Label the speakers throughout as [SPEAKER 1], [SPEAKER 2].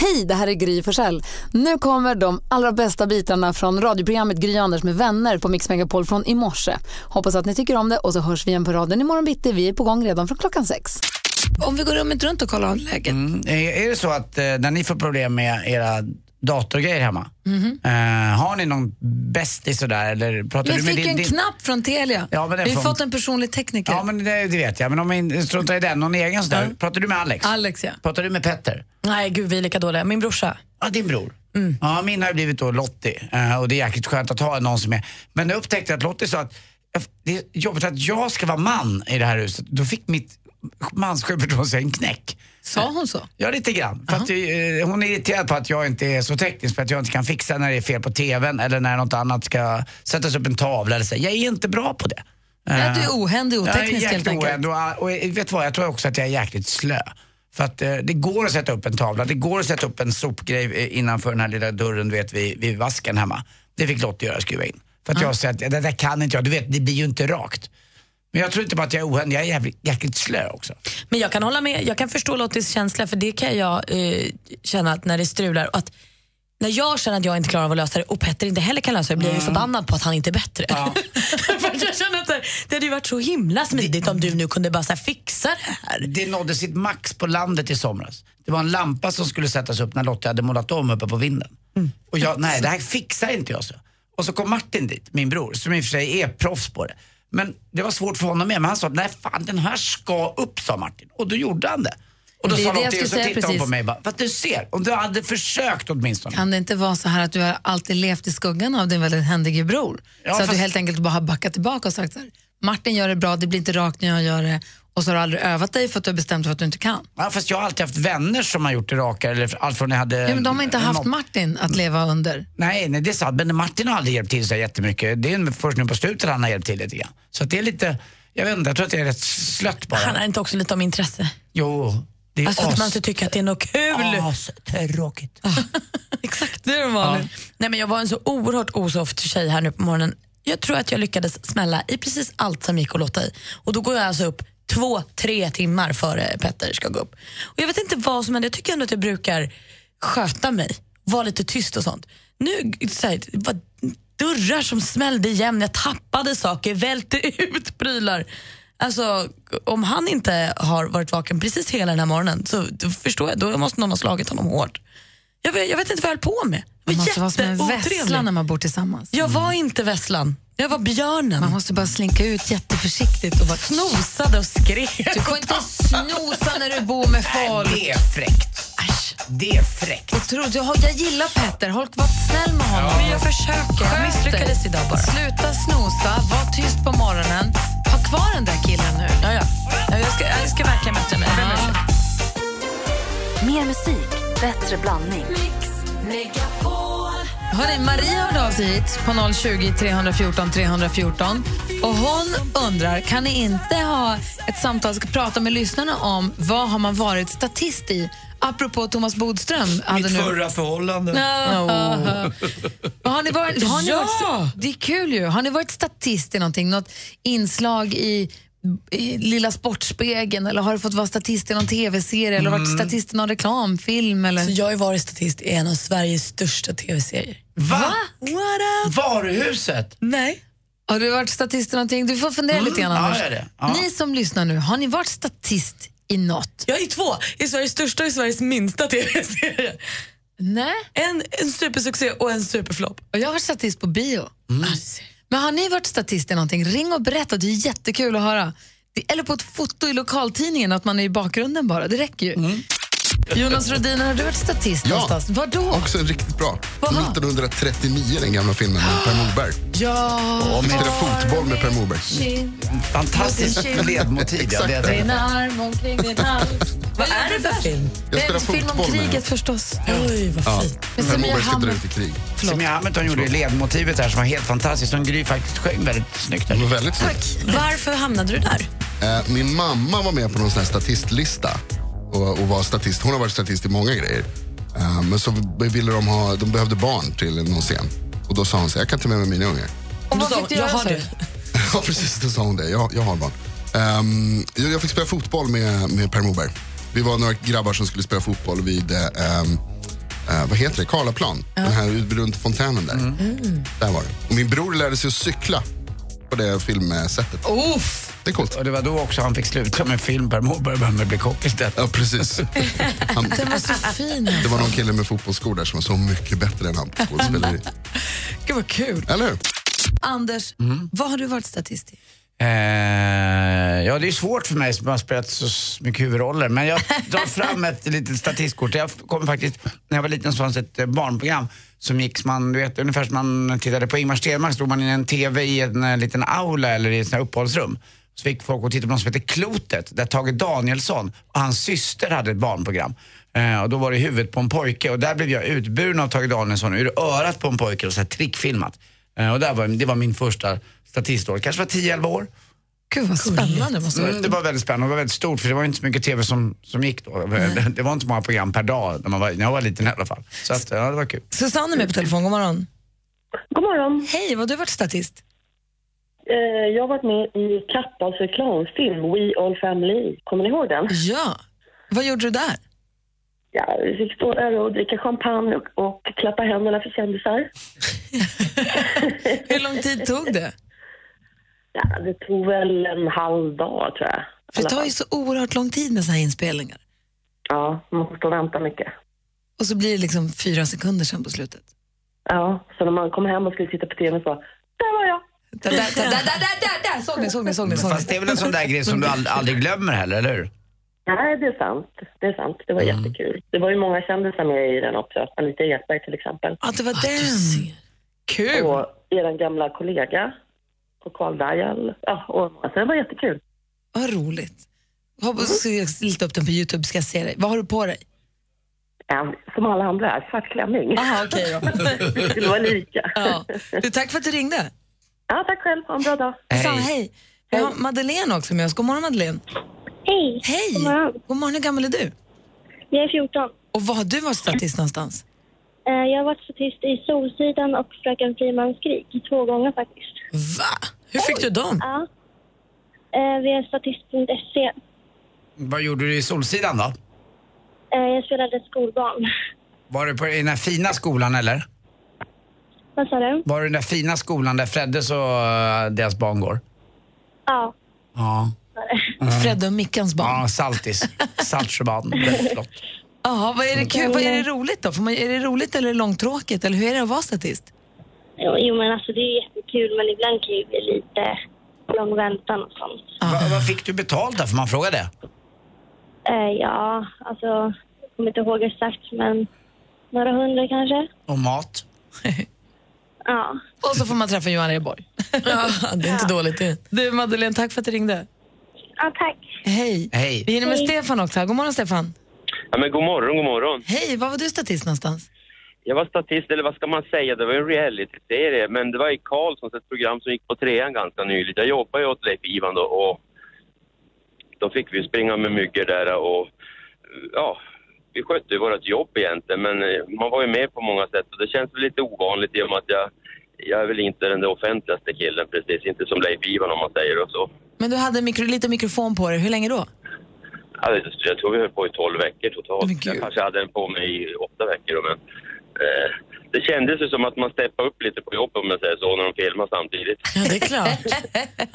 [SPEAKER 1] Hej, det här är Gry Forssell. Nu kommer de allra bästa bitarna från radioprogrammet Gry Anders med vänner på Mix Megapol från i morse. Hoppas att ni tycker om det och så hörs vi igen på raden imorgon bitti. Vi är på gång redan från klockan sex.
[SPEAKER 2] Om vi går rummet runt och kollar läget.
[SPEAKER 3] Mm. Är är det så att eh, när ni får problem med era datorgrejer hemma,
[SPEAKER 2] Mhm.
[SPEAKER 3] eh, har ni någon bästis sådär eller pratar
[SPEAKER 2] Vi
[SPEAKER 3] du med
[SPEAKER 2] fick
[SPEAKER 3] din...
[SPEAKER 2] en
[SPEAKER 3] din...
[SPEAKER 2] knapp från Telia.
[SPEAKER 3] Ja, men det är
[SPEAKER 2] vi har
[SPEAKER 3] från-
[SPEAKER 2] fått en personlig tekniker.
[SPEAKER 3] Ja men det, det vet jag, men om vi struntar i den, någon egen sådär. Pratar du med Alex?
[SPEAKER 2] Alex ja.
[SPEAKER 3] pratar du med Petter?
[SPEAKER 2] Nej gud vi är lika dåliga. Min brorsa.
[SPEAKER 3] Ja, din bror.
[SPEAKER 2] Mm.
[SPEAKER 3] Ja, min har ju blivit då Lottie eh, och det är jäkligt skönt att ha någon som är... Men jag upptäckte att Lottie sa att eh, det är jobbigt att jag ska vara man i det här huset. Då fick mitt mansjälvförtroende sig en knäck.
[SPEAKER 2] Sa hon så?
[SPEAKER 3] Ja, lite grann. För att, eh, hon är irriterad på att jag inte är så teknisk, för att jag inte kan fixa när det är fel på tvn eller när något annat ska sättas upp en tavla eller så. Jag är inte bra på det. Eh,
[SPEAKER 2] Ja, du är ohändig och
[SPEAKER 3] Jag är
[SPEAKER 2] oteknisk helt
[SPEAKER 3] jäkligt
[SPEAKER 2] enkelt.
[SPEAKER 3] oändå, och, och eh, vet du vad, jag tror också att jag är jäkligt slö. För att eh, det går att sätta upp en tavla, det går att sätta upp en sopgrej eh, innanför den här lilla dörren du vet, vid, vid vasken hemma. Det fick Lottie göra, skruva in. För att jag säger att det där kan inte jag, du vet det blir ju inte rakt. Men jag tror inte bara att jag är ohändig, jag är jävligt, jäkligt slö också.
[SPEAKER 4] Men jag kan hålla med, jag kan förstå Lottis känsla för det kan jag eh, känna att när det strular. Att när jag känner att jag inte klarar av att lösa det och Petter inte heller kan lösa det blir jag ju
[SPEAKER 3] Mm.
[SPEAKER 4] förbannad på att han inte är bättre. för att jag känner att så här, det hade ju varit så himla smidigt om du nu kunde bara så här, fixa det här.
[SPEAKER 3] Det nådde sitt max på landet i somras. Det var en lampa som skulle sättas upp när Lotta hade målat om uppe på vinden.
[SPEAKER 2] Mm.
[SPEAKER 3] Och jag, nej det här fixar inte jag så. Och så kom Martin dit, min bror, som i och för sig är proffs på det. Men det var svårt för honom med, men han sa nej fan den här ska upp sa Martin. Och då gjorde han det. Och då
[SPEAKER 2] Det är
[SPEAKER 3] sa
[SPEAKER 2] det jag
[SPEAKER 3] Lotta och så
[SPEAKER 2] skulle säga
[SPEAKER 3] tittade hon på
[SPEAKER 2] precis.
[SPEAKER 3] mig och bara, vad du ser, om du hade försökt åtminstone.
[SPEAKER 2] Kan det inte vara så här att du har alltid levt i skuggan av din väldigt händige bror?
[SPEAKER 3] Ja,
[SPEAKER 2] så att du
[SPEAKER 3] fast-
[SPEAKER 2] helt enkelt bara har backat tillbaka och sagt så här, Martin gör det bra, det blir inte rakt när jag gör det och så har du aldrig övat dig för att du har bestämt dig för att du inte kan.
[SPEAKER 3] Ja, fast jag har alltid haft vänner som har gjort det rakare, eller allt från när jag hade...
[SPEAKER 2] Ja, men de har
[SPEAKER 4] Eh,
[SPEAKER 2] inte
[SPEAKER 3] en
[SPEAKER 2] haft
[SPEAKER 3] mopp.
[SPEAKER 2] Martin att leva under.
[SPEAKER 3] Nej, nej, det är sant. Men Martin har aldrig hjälpt till så jättemycket. Det är först nu på slutet han har hjälpt till lite grann. Så att det är lite, jag vet inte, jag tror att det är rätt slött bara.
[SPEAKER 4] Handlar det inte också lite om intresse?
[SPEAKER 3] Jo, det är
[SPEAKER 4] Alltså att man inte
[SPEAKER 3] as,
[SPEAKER 4] tycker att det är något kul.
[SPEAKER 3] astråkigt.
[SPEAKER 4] Exakt. Det är Nej, men jag var en så oerhört osoft tjej här nu på morgonen. Jag tror att jag lyckades smälla i precis allt som gick att låta i. Och då går jag alltså upp två, tre timmar före Petter ska gå upp. Och jag vet inte vad som händer. Jag tycker ändå att jag brukar sköta mig, vara lite tyst och sånt. Nu så här, det var dörrar som smällde igen, jag tappade saker, välte ut prylar. Alltså, om han inte har varit vaken precis hela den här morgonen så då förstår jag, då måste någon ha slagit honom hårt. Jag vet, jag vet inte vad jag höll på med.
[SPEAKER 2] Man
[SPEAKER 4] Det var
[SPEAKER 2] måste vara som en vessla när
[SPEAKER 4] jätteotrevligt.
[SPEAKER 2] man Mm. bor tillsammans.
[SPEAKER 4] Jag var inte vässlan. Jag var björnen.
[SPEAKER 2] Man måste bara slinka ut jätteförsiktigt och bara
[SPEAKER 4] Snosade och skrek.
[SPEAKER 2] Du får inte snosa när du bor med folk.
[SPEAKER 3] Det är fräckt. Det är fräckt.
[SPEAKER 2] Och tro, du, jag gillar Petter, Håll var snäll med honom.
[SPEAKER 4] Men jag försöker. Jag
[SPEAKER 2] Sköt
[SPEAKER 4] misslyckades
[SPEAKER 2] dig.
[SPEAKER 4] idag bara.
[SPEAKER 2] Sluta snosa, var tyst på morgonen. Ha kvar den där killen nu.
[SPEAKER 4] Ja, ja. Ja, Jag, ska, jag ska verkligen bättre mig. Jag ber om ursäkt.
[SPEAKER 5] Mer musik, bättre blandning.
[SPEAKER 2] Hörrni, Maria hörde av sig hit på 020 314 314 och hon undrar, kan ni inte ha ett samtal ska prata med lyssnarna om vad har man varit statist i? Apropå Thomas Bodström. hade nu-
[SPEAKER 3] förhållande.
[SPEAKER 2] Men Har ni varit, har ni
[SPEAKER 4] Ja!
[SPEAKER 2] varit, det är kul ju. Har ni varit statist i någonting? Något inslag i, i Lilla Sportspegeln? Eller har du fått vara statist i någon tv-serie? Eller varit statist i någon reklamfilm? Eller?
[SPEAKER 4] Så jag har ju varit statist i en av Sveriges största tv-serier.
[SPEAKER 3] Va?
[SPEAKER 4] What up?
[SPEAKER 3] Varuhuset?
[SPEAKER 4] Nej.
[SPEAKER 2] Har du varit statist i någonting? Du får fundera lite grann
[SPEAKER 3] Mm. ja,
[SPEAKER 2] Anders.
[SPEAKER 3] jag är det. Ja.
[SPEAKER 2] Ni som lyssnar nu, har ni varit statist i något?
[SPEAKER 4] Jag är i två. I Sveriges största och i Sveriges minsta tv-serie.
[SPEAKER 2] Nej.
[SPEAKER 4] En, en supersuccé och en superflopp. Alltså.
[SPEAKER 2] Och jag har varit statist på bio.
[SPEAKER 3] Mm.
[SPEAKER 2] Men har ni varit statist i någonting? Ring och berätta, det är jättekul att höra. Det- Eller på ett foto i lokaltidningen, att man är i bakgrunden bara. Det räcker ju.
[SPEAKER 3] Mm.
[SPEAKER 2] Jonas Rodin, har du varit statist
[SPEAKER 6] Ja.
[SPEAKER 2] någonstans? Var då?
[SPEAKER 6] Också en riktigt bra.
[SPEAKER 2] Vaha.
[SPEAKER 6] 1939, den gamla filmen med Per Morberg.
[SPEAKER 2] Ja.
[SPEAKER 6] Vi spelar fotboll med Per Morberg.
[SPEAKER 3] Fantastiskt ledmotiv. ja, det är det.
[SPEAKER 2] Din arm omkring din hals.
[SPEAKER 4] Vad är det för film?
[SPEAKER 6] Jag
[SPEAKER 2] En
[SPEAKER 6] spelar
[SPEAKER 2] film om
[SPEAKER 6] fotboll med
[SPEAKER 2] kriget förstås.
[SPEAKER 4] Oj, vad
[SPEAKER 6] Ja.
[SPEAKER 4] fint.
[SPEAKER 2] Men
[SPEAKER 6] Per
[SPEAKER 2] Samir
[SPEAKER 6] Morberg ska dra
[SPEAKER 2] Hammer-
[SPEAKER 6] ut i krig.
[SPEAKER 3] Samir Hamilton gjorde ju ledmotivet här som var helt fantastiskt. Som Gry faktiskt sjöng väldigt snyggt.
[SPEAKER 6] Det
[SPEAKER 3] där.
[SPEAKER 6] var väldigt snyggt.
[SPEAKER 4] Varför hamnade du där?
[SPEAKER 6] Eh, min mamma var med på någon sån här statistlista och, och var statist. Hon har varit statist i många grejer. Eh, men så ville de ha, de behövde barn till någon scen. Och då sa hon så här, jag kan ta med mig mina ungar.
[SPEAKER 2] Och
[SPEAKER 4] vad fick du göra, sa du?
[SPEAKER 6] Ja, precis. Då sa hon det. Jag, jag har barn. Ehm, jag, jag fick spela fotboll med, med Per Moberg. Vi var några grabbar som skulle spela fotboll vid, eh, ehm, eh, vad heter det, Karlaplan. Den här ut- runt fontänen där.
[SPEAKER 3] Mm.
[SPEAKER 6] Mm. Där var det. Och min bror lärde sig att cykla på det filmsättet. Det är coolt.
[SPEAKER 3] Och det var då också han fick sluta med film. Per Morberg började med att bli kock istället.
[SPEAKER 6] Ja, precis. Han,
[SPEAKER 4] Den var så fin. alltså.
[SPEAKER 6] det var någon kille med fotbollsskor där som var så mycket bättre än han på skådespeleri.
[SPEAKER 4] Gud vad kul.
[SPEAKER 6] Eller hur?
[SPEAKER 4] Anders, vad har du varit statist i?
[SPEAKER 3] Eh, ja, det är svårt för mig som har spelat så s- mycket huvudroller. Men jag drar fram ett litet statistkort. Jag kom faktiskt, när jag var liten så fanns ett eh, barnprogram som gick som man, du vet, ungefär som man tittade på Ingmar Stenmark, stod man i en TV i en eh, liten aula eller i ett sånt här uppehållsrum. Så fick folk och titta på något som heter Klotet, där Tage Danielsson och hans syster hade ett barnprogram. Eh, och då var det i huvudet på en pojke och där blev jag utburen av Tage Danielsson ur örat på en pojke och så här trickfilmat. Eh, och där var, det var min första statistroll, kanske var 10-11 år.
[SPEAKER 2] Gud vad spännande måste det vara.
[SPEAKER 3] Mm, det var väldigt spännande och det var väldigt stort för det var inte så mycket tv som, som gick då. Det, det var inte så många program per dag när, man var, när jag var liten i alla fall. Så att, ja, det var kul.
[SPEAKER 2] Susanne är med på telefon, god morgon.
[SPEAKER 7] God morgon.
[SPEAKER 2] Hej, vad har du varit statist?
[SPEAKER 7] Eh, Jag har varit med i Kappahls reklamfilm We All Family. Kommer ni ihåg den?
[SPEAKER 2] Ja. Vad gjorde du där?
[SPEAKER 7] Ja, vi fick stå där och dricka champagne och, och klappa händerna för kändisar.
[SPEAKER 2] Hur lång tid tog det?
[SPEAKER 7] Ja, det tog väl en halv dag, tror jag.
[SPEAKER 2] För det
[SPEAKER 7] I alla
[SPEAKER 2] tar
[SPEAKER 7] fall.
[SPEAKER 2] ju så oerhört lång tid med såna här inspelningar.
[SPEAKER 7] Ja, man får stå och vänta mycket.
[SPEAKER 2] Och så blir det liksom fyra sekunder sen på slutet.
[SPEAKER 7] Ja, så när man kom hem och skulle titta på tv så där var jag.
[SPEAKER 2] Där, där, där, där, där, där, där. Såg ni, såg ni, såg ni, såg ni.
[SPEAKER 3] Fast det är väl en sån där grej som du ald- aldrig glömmer heller, eller hur?
[SPEAKER 7] Nej, det är sant. Det är sant. Det var
[SPEAKER 2] Mm.
[SPEAKER 7] jättekul. Det var ju många kändisar med i den också. Anita Ekberg till exempel.
[SPEAKER 2] Ja, det var den. Kul.
[SPEAKER 7] Och er gamla kollega. Och Karl Dajal. Ja, och, alltså, det var jättekul.
[SPEAKER 2] Vad roligt. Hoppas
[SPEAKER 7] Mm.
[SPEAKER 2] att jag ska leta upp den på Youtube ska jag se dig. Vad har du på dig?
[SPEAKER 7] Ja, som alla andra är. Svart klänning.
[SPEAKER 2] Jaha, okej då.
[SPEAKER 7] Vi skulle vara lika.
[SPEAKER 2] Ja. Du, tack för att du ringde.
[SPEAKER 7] Ja, tack själv. Ha en bra dag.
[SPEAKER 2] Hej. hej. Vi har Madeleine också med oss. God morgon Madeleine.
[SPEAKER 7] Hej.
[SPEAKER 2] Hej. God
[SPEAKER 7] morgon.
[SPEAKER 2] God morgon, hur gammal är du?
[SPEAKER 7] Jag är 14.
[SPEAKER 2] Och var har du varit statist någonstans?
[SPEAKER 7] Eh, Jag har varit statist i Solsidan och Fröken Frimans krig två gånger faktiskt.
[SPEAKER 2] Va?
[SPEAKER 4] Hur fick du dem?
[SPEAKER 7] Ja. Eh, Via statist.se.
[SPEAKER 3] Vad gjorde du i Solsidan då?
[SPEAKER 7] Eh, Jag spelade skolbarn.
[SPEAKER 3] Var du på, i den här fina skolan eller?
[SPEAKER 7] Vad sa du?
[SPEAKER 3] Var du i den där fina skolan där Freddes och eh, deras barn går?
[SPEAKER 7] Ja.
[SPEAKER 3] Ja.
[SPEAKER 2] Fredde och Mickans barn.
[SPEAKER 3] Ja, Saltis. Saltsjöbaden. Väldigt flott.
[SPEAKER 2] Jaha, vad är det kul? Vad är det roligt då? Får man, är det roligt eller är det långtråkigt? Eller hur är det att vara statist?
[SPEAKER 7] Jo, jo, men alltså det är jättekul, men ibland kan det ju bli lite lång väntan och sånt.
[SPEAKER 3] Va, vad fick du betalt där? Får man fråga det?
[SPEAKER 7] Eh, Ja, alltså, jag kommer inte ihåg exakt, men några hundra kanske.
[SPEAKER 3] Och mat?
[SPEAKER 7] Ja.
[SPEAKER 2] Och så får man träffa Johan Rheborg.
[SPEAKER 4] Ja, det är inte dåligt det.
[SPEAKER 2] Du Madeleine, tack för att du ringde.
[SPEAKER 7] Ja, tack.
[SPEAKER 2] Hej.
[SPEAKER 3] Hej.
[SPEAKER 2] Vi hinner med Stefan också. här. God morgon Stefan.
[SPEAKER 8] Ja, men god morgon, god morgon.
[SPEAKER 2] Hej, var var du statist någonstans?
[SPEAKER 8] Jag var statist, eller vad ska man säga, det var ju en realityserie, men det var i Karlssons, ett program som gick på trean ganska nyligt. Jag jobbade ju åt Leif Ivan då och då fick vi springa med myggor där och ja, vi skötte ju vårt jobb egentligen, men eh, man var ju med på många sätt och det känns väl lite ovanligt i och med att jag, jag är väl inte den där offentligaste killen precis, inte som Leif Ivan om man säger och så.
[SPEAKER 2] Men du hade mikro, lite mikrofon på dig. Hur länge då?
[SPEAKER 8] Ja, det- Jag tror vi höll på i 12 veckor totalt.
[SPEAKER 2] Men gud.
[SPEAKER 8] Jag kanske hade den på mig i åtta veckor. då, Men, eh, det kändes ju som att man steppade upp lite på jobbet om jag säger så, när de filmar samtidigt.
[SPEAKER 4] Ja, det är klart.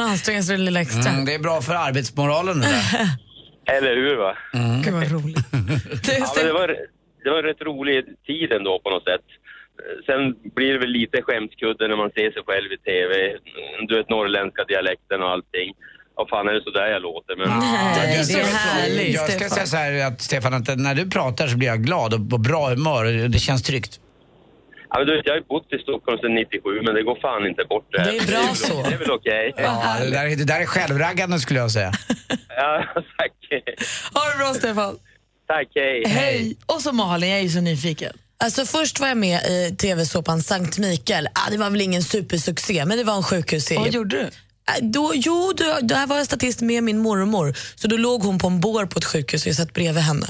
[SPEAKER 4] Anstränga sig det lilla extra.
[SPEAKER 3] Mm, det är bra för arbetsmoralen det där. Mm.
[SPEAKER 8] Eller hur? va?
[SPEAKER 2] Gud vad roligt. Du,
[SPEAKER 8] Ja, men det,
[SPEAKER 2] Ste-
[SPEAKER 8] var, det var en rätt rolig tid ändå på något sätt. Eh, Sen blir det väl lite skämskudde när man ser sig själv i TV. Du vet, norrländska dialekten och allting. Ja, fan är det så där jag låter? Men...
[SPEAKER 4] det är så
[SPEAKER 3] jag-
[SPEAKER 4] härligt,
[SPEAKER 3] Jag ska
[SPEAKER 4] Stefan.
[SPEAKER 3] säga så här att Stefan, att när du pratar så blir jag glad och på bra humör. och Det känns tryggt.
[SPEAKER 8] Ja, men du vet, jag har ju bott i Stockholm sedan 97, men det går fan inte bort det här.
[SPEAKER 4] Det är bra så.
[SPEAKER 8] Det är väl okej.
[SPEAKER 3] Ja, det, där, är- det där är självraggande skulle jag säga.
[SPEAKER 8] Ja, tack.
[SPEAKER 2] ha det bra Stefan.
[SPEAKER 8] Tack, hej.
[SPEAKER 2] Hej. Och så Malin, jag är ju så nyfiken.
[SPEAKER 4] Alltså först var jag med i tv-såpan Sankt Mikael. Ah, det var väl ingen supersuccé, men det var en
[SPEAKER 2] Vad
[SPEAKER 4] sjukhusserie.
[SPEAKER 2] gjorde du?
[SPEAKER 4] Äh, Då, jo, då, då här var jag statist med min mormor. Så då låg hon på en bår på ett sjukhus och jag satt bredvid henne.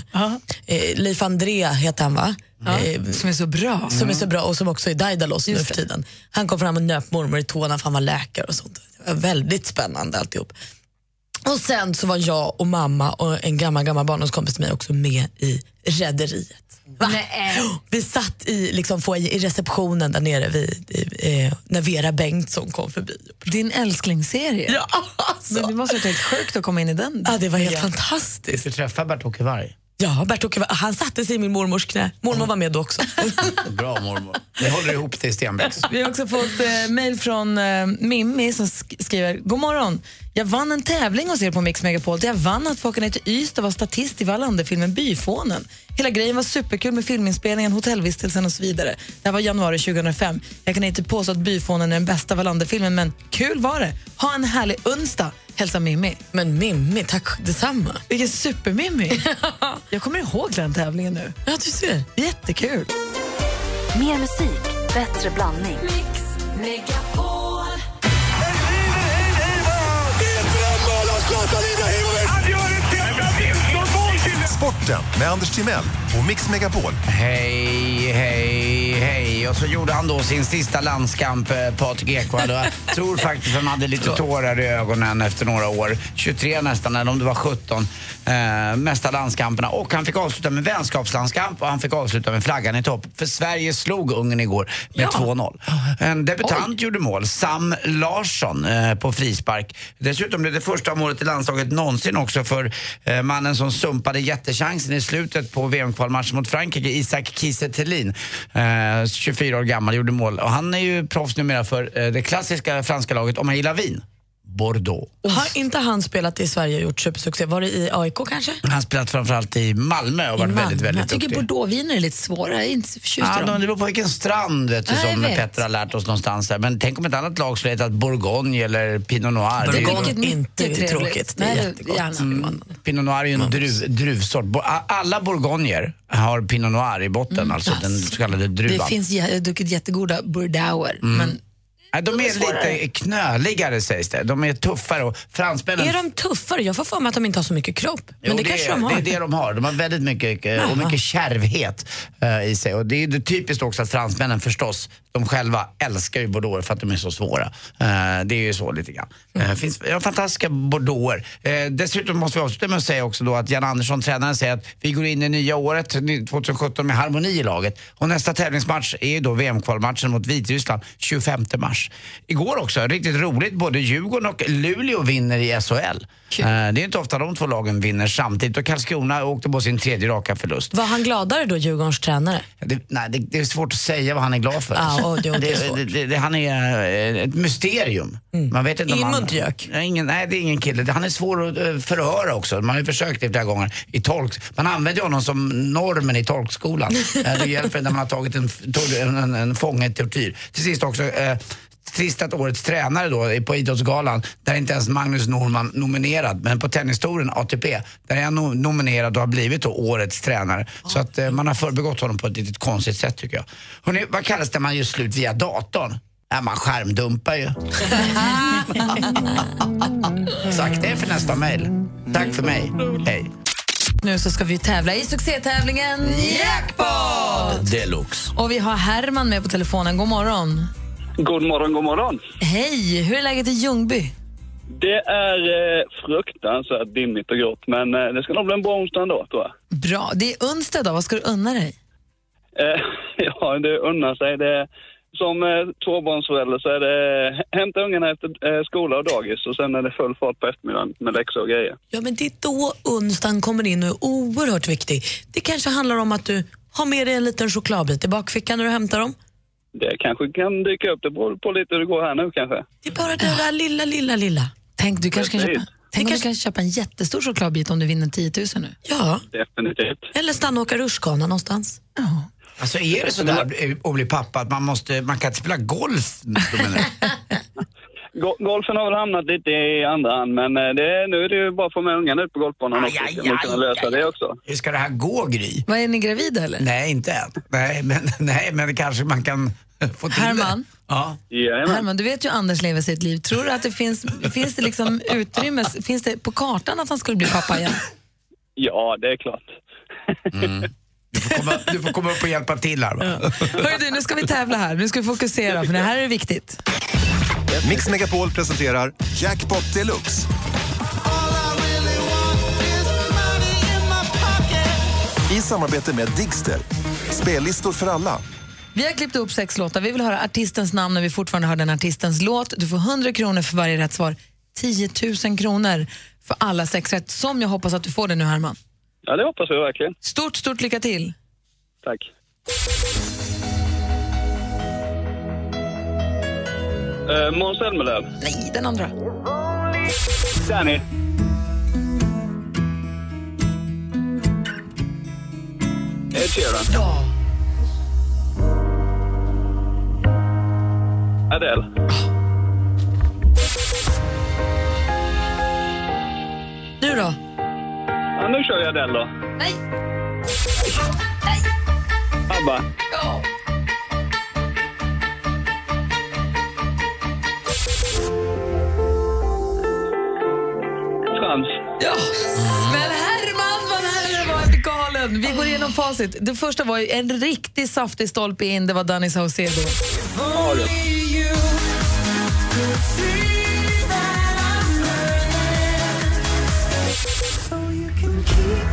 [SPEAKER 4] Eh, Leif André heter han va? Eh,
[SPEAKER 2] som är så bra. Mm.
[SPEAKER 4] Som är så bra och som också är Daidalos nu för tiden. Han kom fram och nöp mormor i tårna för han var läkare och sånt. Det var väldigt spännande alltihop. Och sen så var jag och mamma och en gammal gammal barndomskompis till mig också med i Rederiet. Va? Vi satt i, liksom, foajé- i receptionen där nere vid, i, eh, när Vera Bengtsson kom förbi.
[SPEAKER 2] Din älsklingsserie.
[SPEAKER 4] Ja, alltså.
[SPEAKER 2] Men det måste ha varit helt sjukt att komma in i den.
[SPEAKER 4] Ja, det var helt fantastiskt.
[SPEAKER 3] Du träffade Bert-Åke Varg.
[SPEAKER 4] Ja, Bert-Åke var- han satte sig i min mormors knä. Mormor var med då också.
[SPEAKER 3] Bra mormor. Ni håller ihop det i Stenbecks.
[SPEAKER 2] Vi har också fått eh, mejl från eh, Mimmi som sk- skriver God morgon. Jag vann en tävling hos er på Mix Megapol där jag vann att få åka ner till Ystad och vara statist i Wallander-filmen Byfånen. Hela grejen var superkul med filminspelningen, hotellvistelsen och så vidare. Det här var januari 2005. Jag kan inte påstå att Byfånen är den bästa Wallander-filmen men kul var det. Ha en härlig onsdag. Hälsa Mimmi.
[SPEAKER 4] Men Mimmi, tack detsamma.
[SPEAKER 2] Vilken supermimmi. jag kommer ihåg den tävlingen nu.
[SPEAKER 4] Ja, du ser.
[SPEAKER 2] Jättekul.
[SPEAKER 5] Mer musik, bättre blandning.
[SPEAKER 9] Sporten med Anders Timell och Mix Megapol.
[SPEAKER 3] Hej, hej, hej. Och så gjorde han då sin sista landskamp, eh, Patrik Ekwall. Och Jag tror faktiskt han hade lite tårar i ögonen efter några år. 23 nästan, eller om det var 17. Eh, mesta landskamperna. Och han fick avsluta med vänskapslandskamp och han fick avsluta med flaggan i topp. För Sverige slog Ungern igår med 2-0. En debutant gjorde mål, Sam Larsson, eh, på frispark. Dessutom blev det första målet i landslaget någonsin också för eh, mannen som sumpade jättechansen i slutet på VM-kvalmatchen mot Frankrike, Isak Kiese Thelin. Eh, 24 år gammal, gjorde mål. Och han är ju proffs numera för eh, det klassiska franska laget, om man gillar vin, Bordeaux.
[SPEAKER 4] Har inte han spelat i Sverige och gjort supersuccé? Var det i AIK kanske?
[SPEAKER 3] Han har spelat framförallt i Malmö och varit väldigt, väldigt
[SPEAKER 4] Jag tycker
[SPEAKER 3] duktig.
[SPEAKER 4] bordeauxviner är lite svåra. Jag är inte så förtjust
[SPEAKER 3] Ja,
[SPEAKER 4] i
[SPEAKER 3] de,
[SPEAKER 4] dem.
[SPEAKER 3] det beror på vilken strand vet du,
[SPEAKER 4] Ja, jag
[SPEAKER 3] som
[SPEAKER 4] vet.
[SPEAKER 3] Petter har lärt oss någonstans. Där. Men tänk om ett annat lag skulle heta Bourgogne eller Pinot Noir. Det är ju-
[SPEAKER 4] Bourgogne inte är
[SPEAKER 2] trevligt.
[SPEAKER 4] tråkigt. Det är
[SPEAKER 2] Nej, det-
[SPEAKER 4] jättegott. Mm.
[SPEAKER 2] gärna.
[SPEAKER 3] Pinot Noir är ju en druv, druvsort. Bo- a- Alla bourgogner har Pinot Noir i botten,
[SPEAKER 4] Mm.
[SPEAKER 3] alltså den så kallade druvan.
[SPEAKER 2] Det finns, jag har druckit jättegooda bordeauxer.
[SPEAKER 3] Mm.
[SPEAKER 2] Men
[SPEAKER 3] Nej, de, är, lite knöligare sägs det. De är tuffare och fransmännen...
[SPEAKER 4] Är de tuffare? Jag får för mig att de inte har så mycket kropp. Men
[SPEAKER 3] Jo,
[SPEAKER 4] det, kanske
[SPEAKER 3] är,
[SPEAKER 4] de har.
[SPEAKER 3] Det är det de har. De har väldigt mycket, eh, och
[SPEAKER 4] Jaha.
[SPEAKER 3] mycket kärvhet eh, i sig. Och det är ju det typiskt också att fransmännen förstås, de själva älskar ju bordeauxer för att de är så svåra. Eh, det är ju så lite grann.
[SPEAKER 4] Mm.
[SPEAKER 3] Eh, finns ja, fantastiska bordeauxer. Eh, dessutom måste vi avsluta med att säga också då att Jan Andersson, tränaren, säger att vi går in i nya året, ny- 2017, med harmoni i laget. Och nästa tävlingsmatch är ju då VM-kvalmatchen mot Vitryssland 25 mars. Igår också, riktigt roligt, både Djurgården och Luleå vinner i SHL. Eh, Det är inte ofta de två lagen vinner samtidigt och Karlskrona åkte på sin tredje raka förlust.
[SPEAKER 4] Var han gladare då, Djurgårdens tränare?
[SPEAKER 3] Det, nej, det, det är svårt att säga vad han är glad för.
[SPEAKER 4] Ja, och jo, det är svårt. Mm.
[SPEAKER 3] det, det, det, han är eh, ett mysterium. Man vet inte om
[SPEAKER 4] Ingen
[SPEAKER 3] han-
[SPEAKER 4] muntgök?
[SPEAKER 3] Nej, Ingen, nej, det är ingen kille. Han är svår att eh, förhöra också. Man har ju försökt det flera gånger. I tolk, man använder ju honom som normen i tolkskolan. Eh, det hjälper när man har tagit en, tor- en, en, en fånge till tortyr. Till sist också, eh, Trist att årets tränare då är på Idrottsgalan, där är inte ens Magnus Norman nominerad, men på Tennistouren ATP, där är han no- nominerad och har blivit då årets tränare. Så att eh, man har förbigått honom på ett litet konstigt sätt tycker jag. Hörrni, vad kallas det när man gör slut via datorn? Ja, man skärmdumpar ju. Exakt, det är för nästa mejl. Tack för mig. Hej.
[SPEAKER 2] nu så ska vi tävla i succétävlingen Jackpot!
[SPEAKER 3] Deluxe.
[SPEAKER 2] Och vi har Herman med på telefonen. God morgon.
[SPEAKER 10] God morgon, god morgon.
[SPEAKER 2] Hej, hur är läget i Ljungby?
[SPEAKER 10] Det är eh, fruktansvärt dimmigt och grått, men eh, det ska nog bli en bra onsdag ändå, tror jag.
[SPEAKER 2] Bra. Det är onsdag idag, vad ska du unna dig?
[SPEAKER 10] Eh, ja, det unnar sig. Det, som eh, tvåbarnsförälder så är det eh, hämta ungarna efter eh, skola och dagis och sen är det full fart på eftermiddagen med läxor och grejer.
[SPEAKER 4] Ja, men det är då onsdagen kommer in och är oerhört viktig. Det kanske handlar om att du har med dig en liten chokladbit i bakfickan när du hämtar dem.
[SPEAKER 10] Det kanske kan dyka upp, det beror på lite hur det går här nu kanske.
[SPEAKER 4] Det är bara det där lilla, lilla, lilla.
[SPEAKER 2] Tänk, du kanske kan
[SPEAKER 10] Precis.
[SPEAKER 2] köpa, tänk om du kan köpa en jättestor chokladbit om du vinner 10 000 nu.
[SPEAKER 4] Ja.
[SPEAKER 10] Definitivt.
[SPEAKER 4] Eller stanna och åka rutschkana någonstans.
[SPEAKER 3] Alltså är det sådär att bli pappa att man, måste, man kan inte spela golf? då menar jag?
[SPEAKER 10] Go- golfen har väl hamnat lite i andra hand, men eh, det, är- nu är det ju bara att få med ungarna ut på golfbanan också. Aj, aj, kunna lösa det också.
[SPEAKER 3] Hur ska det här gå, Gry?
[SPEAKER 2] Vad Är ni gravida eller?
[SPEAKER 3] Nej, inte än. Nej, men, nej, men kanske man kan Få till det.
[SPEAKER 2] Herman,
[SPEAKER 3] Ja.
[SPEAKER 2] Herman, du vet ju Anders lever sitt liv. Tror du att det finns, finns det liksom utrymme, finns det på kartan att han skulle bli pappa igen?
[SPEAKER 10] Ja, det är klart.
[SPEAKER 3] Mm. Du, får komma, du får komma upp och hjälpa till här. va?
[SPEAKER 2] Hörru du, nu ska vi tävla här. Nu ska vi fokusera för det här är viktigt.
[SPEAKER 9] Mix Megapol presenterar Jackpot Deluxe. I samarbete med Digster. Spellistor för alla.
[SPEAKER 2] Vi har klippt upp sex låtar. Vi vill höra artistens namn när vi fortfarande hör den artistens låt. Du får 100 kronor för varje rätt svar. 10 000 kronor för alla sex rätt, som jag hoppas att du får det nu, Herman.
[SPEAKER 10] Ja, det hoppas vi verkligen.
[SPEAKER 2] Stort, stort lycka till.
[SPEAKER 10] Tack. Eh, Måns Zelmerlöw.
[SPEAKER 2] Nej, den andra.
[SPEAKER 10] Danny. Ed Sheeran.
[SPEAKER 2] Ja.
[SPEAKER 10] Adele.
[SPEAKER 2] Du då?
[SPEAKER 10] Ja, nu kör vi Adele då.
[SPEAKER 2] Nej.
[SPEAKER 10] ABBA. Frans.
[SPEAKER 2] Ja. Men Herman var nära, det var helt galen. Vi går igenom facit. Det första var ju en riktig saftig stolpe in, det var Danny Saucedo.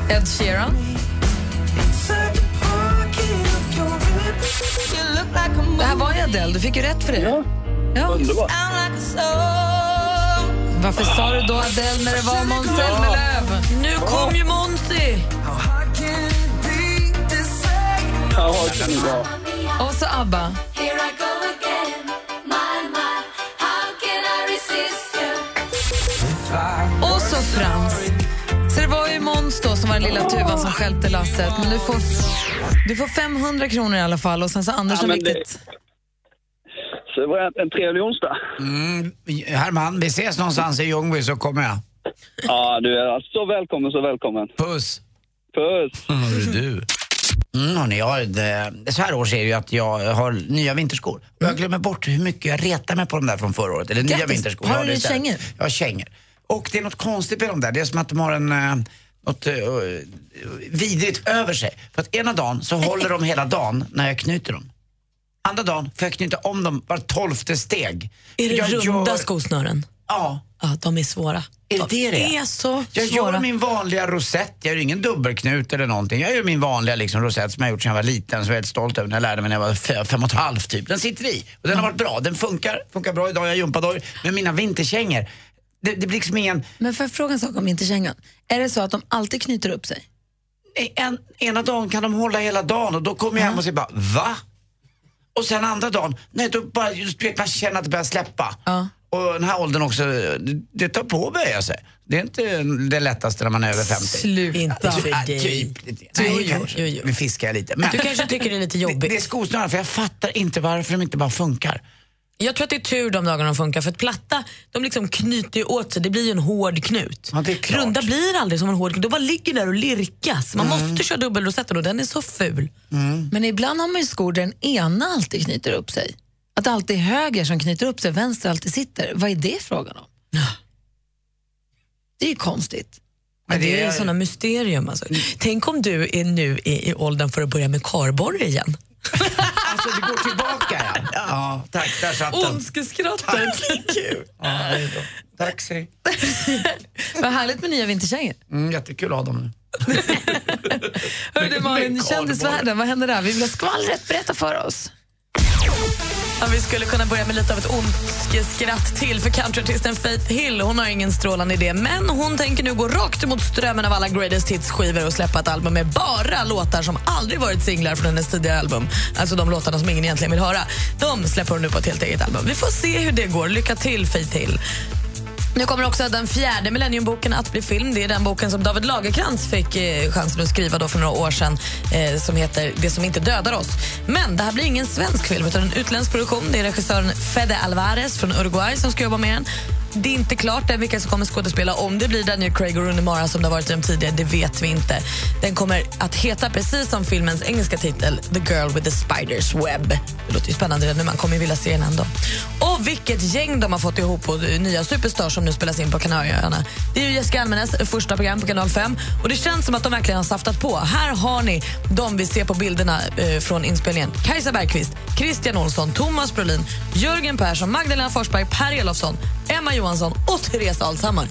[SPEAKER 2] Ed Sheeran. Det här var ju Adele, du fick ju rätt för det. Ja,
[SPEAKER 10] underbart.
[SPEAKER 2] Varför sa du då Adele när det var Måns Zelmerlöw?
[SPEAKER 4] Nu kom ju Monty!
[SPEAKER 2] Och så ABBA. Och så Frans. Så det var ju Måns då som var den lilla tuvan som stjälpte lasset. Men du får, du får 500 kronor i alla fall och sen så Anders
[SPEAKER 10] Ja,
[SPEAKER 2] som
[SPEAKER 10] men det-
[SPEAKER 2] riktigt...
[SPEAKER 10] Så det var en trevlig onsdag.
[SPEAKER 3] Mm, Herman, vi ses någonstans i Ljungby så kommer jag.
[SPEAKER 10] Ja, du är så välkommen, så välkommen.
[SPEAKER 3] Puss.
[SPEAKER 10] Puss.
[SPEAKER 3] Hörru du. Mm, hörni, jag, har det, så här års är det ju att jag har nya vinterskor. Och jag glömmer bort hur mycket jag retar mig på de där från förra året. Eller nya
[SPEAKER 2] Grattis.
[SPEAKER 3] vinterskor.
[SPEAKER 2] Har
[SPEAKER 3] Ja,
[SPEAKER 2] du
[SPEAKER 3] det är
[SPEAKER 2] nu
[SPEAKER 3] så här.
[SPEAKER 2] kängor?
[SPEAKER 3] Jag har kängor. Och det är något konstigt med de där. Det är som att de har en... eh, Något eh, vidrigt över sig. För att ena dagen så håller de hela dagen när jag knyter dem. Andra dagen får jag knyta om dem var tolfte steg.
[SPEAKER 4] Är det
[SPEAKER 3] jag
[SPEAKER 4] runda
[SPEAKER 3] gör-
[SPEAKER 4] skosnören?
[SPEAKER 3] Ja.
[SPEAKER 4] ja. De är svåra.
[SPEAKER 3] Är det det det
[SPEAKER 4] De är så
[SPEAKER 3] Jag
[SPEAKER 4] svåra.
[SPEAKER 3] gör min vanliga rosett, jag gör ingen dubbelknut eller någonting. Jag gör min vanliga liksom, rosett som jag gjort sedan jag var liten, som jag är väldigt stolt över. Den jag lärde mig när jag var fem, fem och ett halvt typ. Den sitter i och den har varit bra. Den funkar, funkar bra idag, jag har gympadojor. Men mina vinterkängor, det, det blir liksom ingen...
[SPEAKER 2] Men får jag fråga en sak om vinterkängan? Är det så att de alltid knyter upp sig?
[SPEAKER 3] En, ena dagen kan de hålla hela dagen och då kommer jag hem och säger bara va? Och sen andra dagen, nej då bara, just, vet, man känner att det börjar släppa. Och den här åldern också, det, det tar på att böja sig. Det är inte det lättaste när man är över 50.
[SPEAKER 4] Sluta. Inte för
[SPEAKER 3] Ja,
[SPEAKER 4] dig.
[SPEAKER 3] Typ, lite.
[SPEAKER 4] Jo,
[SPEAKER 3] Nej,
[SPEAKER 4] jo,
[SPEAKER 3] kanske. Nu fiskar jag lite.
[SPEAKER 4] Du kanske tycker det är lite jobbigt.
[SPEAKER 3] Det, det är skosnören, för jag fattar inte varför de inte bara funkar.
[SPEAKER 4] Jag tror att det är tur de dagarna de funkar, för att platta de liksom knyter ju åt sig. Det blir ju en hård knut. Runda blir aldrig som en hård knut. De bara ligger där och lirkas. Man
[SPEAKER 3] Mm.
[SPEAKER 4] måste köra dubbelrosetten och den är så ful.
[SPEAKER 2] Men ibland har man ju skor där den ena alltid knyter upp sig. Att det alltid är höger som knyter upp sig, vänster alltid sitter. Vad är det frågan om? Det är ju konstigt.
[SPEAKER 4] Ja, det, är
[SPEAKER 2] är-
[SPEAKER 4] ju sådana mysterium. Alltså.
[SPEAKER 3] Mm.
[SPEAKER 4] Tänk om du är nu är i åldern för att börja med karborre igen.
[SPEAKER 3] Alltså det går tillbaka ja. Ja, tack. Där satt den.
[SPEAKER 4] Ondskeskrattar.
[SPEAKER 3] Ja, det är bra. Tack så mycket.
[SPEAKER 2] Vad härligt med nya vinterkängor.
[SPEAKER 3] mm, Jättekul att ha dem nu.
[SPEAKER 2] Hörru du
[SPEAKER 3] Med-
[SPEAKER 2] Malin,
[SPEAKER 3] med
[SPEAKER 2] kändisvärlden, vad händer där? Vi vill ha skvallret, berätta för oss.
[SPEAKER 4] Ja, vi skulle kunna börja med lite av ett ondskeskratt till för countryartisten Faith Hill. Hon har ingen strålande idé, men hon tänker nu gå rakt emot strömmen av alla greatest hits-skivor och släppa ett album med bara låtar som aldrig varit singlar från hennes tidigare album. Alltså de låtarna som ingen egentligen vill höra. De släpper hon nu på ett helt eget album. Vi får se hur det går. Lycka till, Faith Hill. Nu kommer också den fjärde Millenniumboken att bli film. Det är den boken som David Lagercrantz fick eh, chansen att skriva då för några år sedan eh, som heter Det som inte dödar oss. Men det här blir ingen svensk film utan en utländsk produktion. Det är regissören Fede Alvarez från Uruguay som ska jobba med den. Det är inte klart än vilka som kommer skådespela. Om det blir Daniel Craig och Rooney Mara som det har varit i de tidigare, det vet vi inte. Den kommer att heta precis som filmens engelska titel The Girl with the Spider's Web. Det låter ju spännande redan nu, man kommer ju vilja se den ändå. Och vilket gäng de har fått ihop på eh, nya Superstar som nu spelas in på Kanarieöarna. Det är ju Jessica Almenäs första program på Kanal 5 och det känns som att de verkligen har saftat på. Här har ni de vi ser på bilderna eh, från inspelningen. Kajsa Bergqvist, Christian Olsson, Thomas Brolin, Jörgen Persson, Magdalena Forsberg, Per Elofsson, Emma Johansson och Therese Alshammar.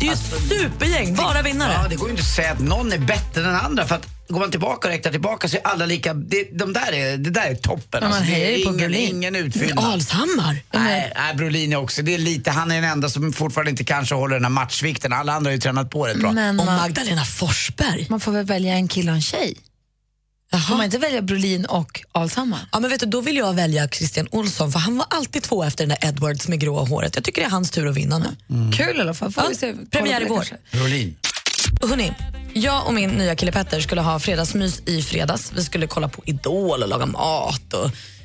[SPEAKER 4] Det är ju ett supergäng, bara vinnare.
[SPEAKER 3] Ja, Alltså- det går ju inte att säga att någon är bättre än den andra. För att går man tillbaka och räknar tillbaka så är alla lika. Det, de där är, det där är toppen. alltså.
[SPEAKER 4] Men man
[SPEAKER 3] det
[SPEAKER 4] hejar
[SPEAKER 3] är
[SPEAKER 4] ju på
[SPEAKER 3] ingen,
[SPEAKER 4] Brolin.
[SPEAKER 3] ingen utfyllnad.
[SPEAKER 4] Men Alshammar?
[SPEAKER 3] Nej, nej, Brolin är också. Det är lite, han är den enda som fortfarande inte kanske håller den här matchvikten. Alla andra har ju tränat på rätt bra.
[SPEAKER 2] Men,
[SPEAKER 3] Och
[SPEAKER 2] man-
[SPEAKER 4] Magdalena Forsberg.
[SPEAKER 2] Man får väl välja en kille och en tjej. Får man inte välja Brolin och Alshammar?
[SPEAKER 4] Ja, men vet du, då vill jag välja Christian Olsson för han var alltid två efter den där Edwards med gråa håret. Jag tycker det är hans tur att vinna nu.
[SPEAKER 2] Mm. Kul i alla fall. Får vi se, kolla på
[SPEAKER 4] premiär
[SPEAKER 2] det
[SPEAKER 4] igår.
[SPEAKER 2] kanske.
[SPEAKER 3] Brolin.
[SPEAKER 4] Hörrni, jag och min nya kille Petter skulle ha fredagsmys i fredags. Vi skulle kolla på Idol och laga mat och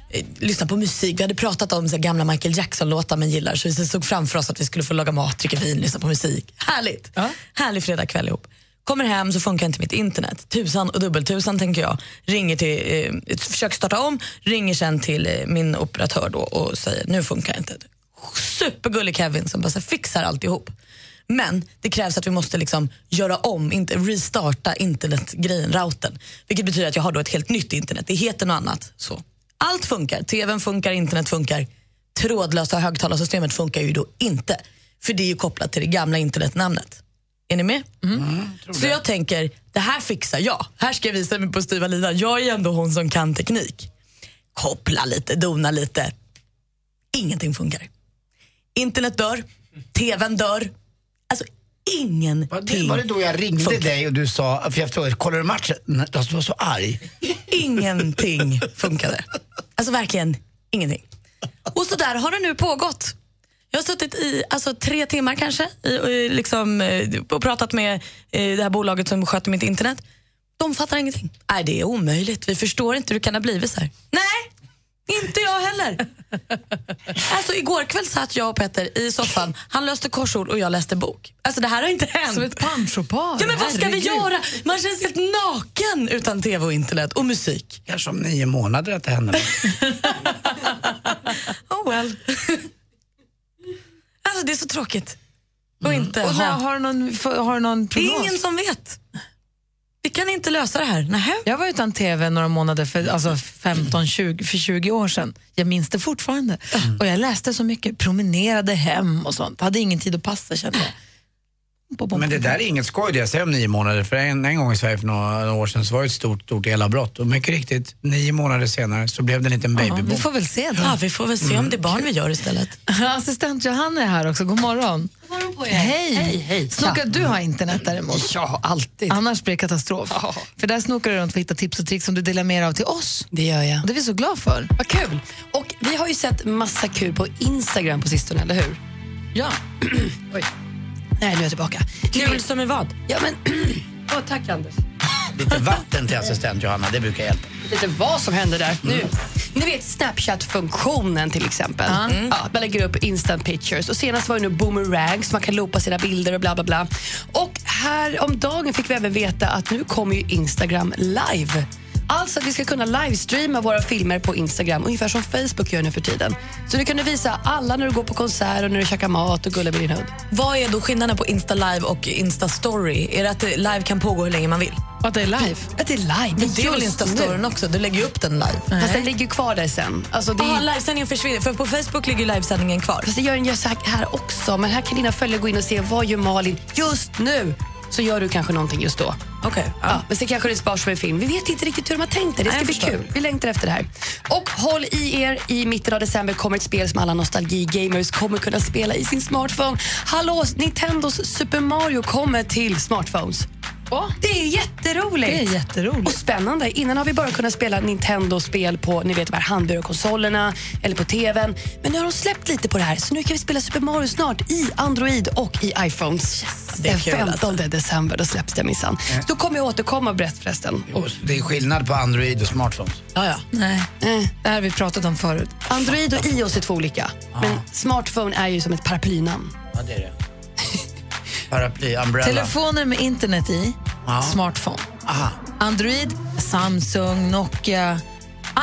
[SPEAKER 4] eh, lyssna på musik. Vi hade pratat om så här, gamla Michael Jackson-låtar man gillar så vi såg framför oss att vi skulle få laga mat, dricka vin, lyssna på musik. Härligt! Härlig fredagkväll ihop. Kommer hem så funkar inte mitt internet. Tusan och dubbeltusan tänker jag. Ringer till, eh, försöker starta om, ringer sen till eh, min operatör då och säger nu funkar inte. Supergullig Kevin som bara så här, fixar alltihop. Men det krävs att vi måste liksom göra om, inte restarta internetgrejen, routern. Vilket betyder att jag har då ett helt nytt internet. Det heter något annat. Så. Allt funkar, tvn funkar, internet funkar. Trådlösa högtalarsystemet funkar ju då inte. För det är ju kopplat till det gamla internetnamnet. Är ni med? Så Mm. jag tänker, det här fixar jag. Här ska jag visa mig på styva linan. Jag är ändå hon som kan teknik. Koppla lite, dona lite. Ingenting funkar. Internet dör, tvn dör. Alltså ingenting
[SPEAKER 3] Var det, var det då jag ringde
[SPEAKER 4] funkar.
[SPEAKER 3] dig och du sa, för jag frågade, kollar du matchen? Nej, Alltså, du var så arg.
[SPEAKER 4] Ingenting funkade. Alltså verkligen ingenting. Och så där har det nu pågått. Jag har suttit i alltså, tre timmar kanske i, i, liksom, eh, och pratat med eh, det här bolaget som sköter mitt internet. De fattar ingenting. Nej, det är omöjligt. Vi förstår inte hur det kan ha blivit så här. Nej, inte jag heller. Alltså igår kväll satt jag och Petter i soffan. Han löste korsord och jag läste bok. Alltså det här har inte hänt.
[SPEAKER 2] Som ett panschopar.
[SPEAKER 4] Ja, men vad ska vi
[SPEAKER 2] Herregud.
[SPEAKER 4] göra? Man känns helt naken utan tv och internet och musik.
[SPEAKER 3] Kanske om nio månader att det händer något.
[SPEAKER 4] Oh well. alltså det är så tråkigt. Och inte
[SPEAKER 2] Mm. Och
[SPEAKER 4] ha.
[SPEAKER 2] när, har, du någon, f- har du någon
[SPEAKER 4] Det
[SPEAKER 2] prognos?
[SPEAKER 4] är ingen som vet. Vi kan inte lösa det här. Nähä.
[SPEAKER 2] Jag var utan tv några månader för, alltså 15, 20, för 20 år sedan. Jag minns det fortfarande.
[SPEAKER 4] Mm.
[SPEAKER 2] Och jag läste så mycket, promenerade hem och sånt. Hade ingen tid att passa kände jag.
[SPEAKER 3] Men det där är inget skoj det jag säger om nio månader. För en, en gång i Sverige för några år sedan så var det ett stort, stort elavbrott. Och mycket riktigt, nio månader senare så blev det en liten babybomb.
[SPEAKER 2] Vi får väl se då.
[SPEAKER 4] Ja, vi får väl se om det är barn vi gör istället.
[SPEAKER 2] Assistent Johanna är här också. God morgon. God morgon på er. Hej.
[SPEAKER 4] Hej, hej.
[SPEAKER 2] Snokar
[SPEAKER 4] Tja.
[SPEAKER 2] du har internet däremot?
[SPEAKER 4] Ja, alltid.
[SPEAKER 2] Annars blir det katastrof. För där snokar du runt för att hitta tips och tricks som du delar med dig av till oss. Det gör jag. Och det är vi så glada för.
[SPEAKER 11] Vad kul! Och vi har ju sett massa kul på Instagram på sistone, eller hur?
[SPEAKER 4] Ja.
[SPEAKER 11] Oj. Nej, nu är jag tillbaka.
[SPEAKER 4] Kul som är vad?
[SPEAKER 11] Ja, men... Åh, tack, Anders.
[SPEAKER 3] Lite vatten till assistent Johanna, det brukar hjälpa.
[SPEAKER 11] Lite vad som händer där nu. Ni vet Snapchat-funktionen till exempel.
[SPEAKER 3] Mm.
[SPEAKER 11] Ja, man lägger upp instant pictures. Och Senast var det nu boomerang så man kan loopa sina bilder och bla bla bla. Och här om dagen fick vi även veta att nu kommer ju Instagram live. Alltså att vi ska kunna livestreama våra filmer på Instagram, ungefär som Facebook gör nu för tiden. Så du kan du visa alla när du går på konsert och när du käkar mat och gullar med din hund.
[SPEAKER 4] Vad är då skillnaden på Insta Live och Insta Story? Är det att det live kan pågå hur länge man vill?
[SPEAKER 2] Att det är live?
[SPEAKER 11] Att det är live.
[SPEAKER 4] Men det är väl
[SPEAKER 11] Just
[SPEAKER 4] Insta Storyn
[SPEAKER 11] nu.
[SPEAKER 4] också? Du lägger ju upp den live.
[SPEAKER 11] Fast den ligger ju kvar där sen. Alltså det är-
[SPEAKER 4] Jaha, livesändningen försvinner. För på Facebook ligger ju livesändningen kvar.
[SPEAKER 11] Fast det gör den ju så här- här också. Men här kan dina följare gå in och se vad gör Malin just nu. Så gör du kanske någonting just då.
[SPEAKER 4] Okej.
[SPEAKER 11] Ja. men sen kanske det sparas som en film. Vi vet inte riktigt hur de har tänkt det. Det
[SPEAKER 4] Nej, jag
[SPEAKER 11] ska bli
[SPEAKER 4] förstår.
[SPEAKER 11] kul. Vi längtar efter det här. Och håll i er. I mitten av december kommer ett spel som alla nostalgi-gamers kommer kunna spela i sin smartphone. Hallå, Nintendos Super Mario kommer till smartphones. Det är jätteroligt.
[SPEAKER 2] Det är jätteroligt.
[SPEAKER 11] Och spännande. Innan har vi bara kunnat spela Nintendo-spel på ni vet, de här handburarkonsolerna eller på tvn. Men nu har de släppt lite på det här, så nu kan vi spela Super Mario snart i Android och i iPhones.
[SPEAKER 4] det är
[SPEAKER 11] Den
[SPEAKER 4] kul
[SPEAKER 11] 15
[SPEAKER 4] alltså.
[SPEAKER 11] december, då släpps det minsann. Så då kommer jag återkomma och berätta förresten.
[SPEAKER 3] Det är skillnad på Android och smartphones.
[SPEAKER 11] Ja, ja.
[SPEAKER 2] Nej, Eh. det här har vi pratat om förut.
[SPEAKER 11] Android och iOS är två olika, men smartphone är ju som ett paraplynamn.
[SPEAKER 3] Ja, det är det. Paraply, umbrella.
[SPEAKER 2] Telefoner med internet i,
[SPEAKER 3] Ja.
[SPEAKER 2] smartphone.
[SPEAKER 3] Aha,
[SPEAKER 2] Android, Samsung, Nokia,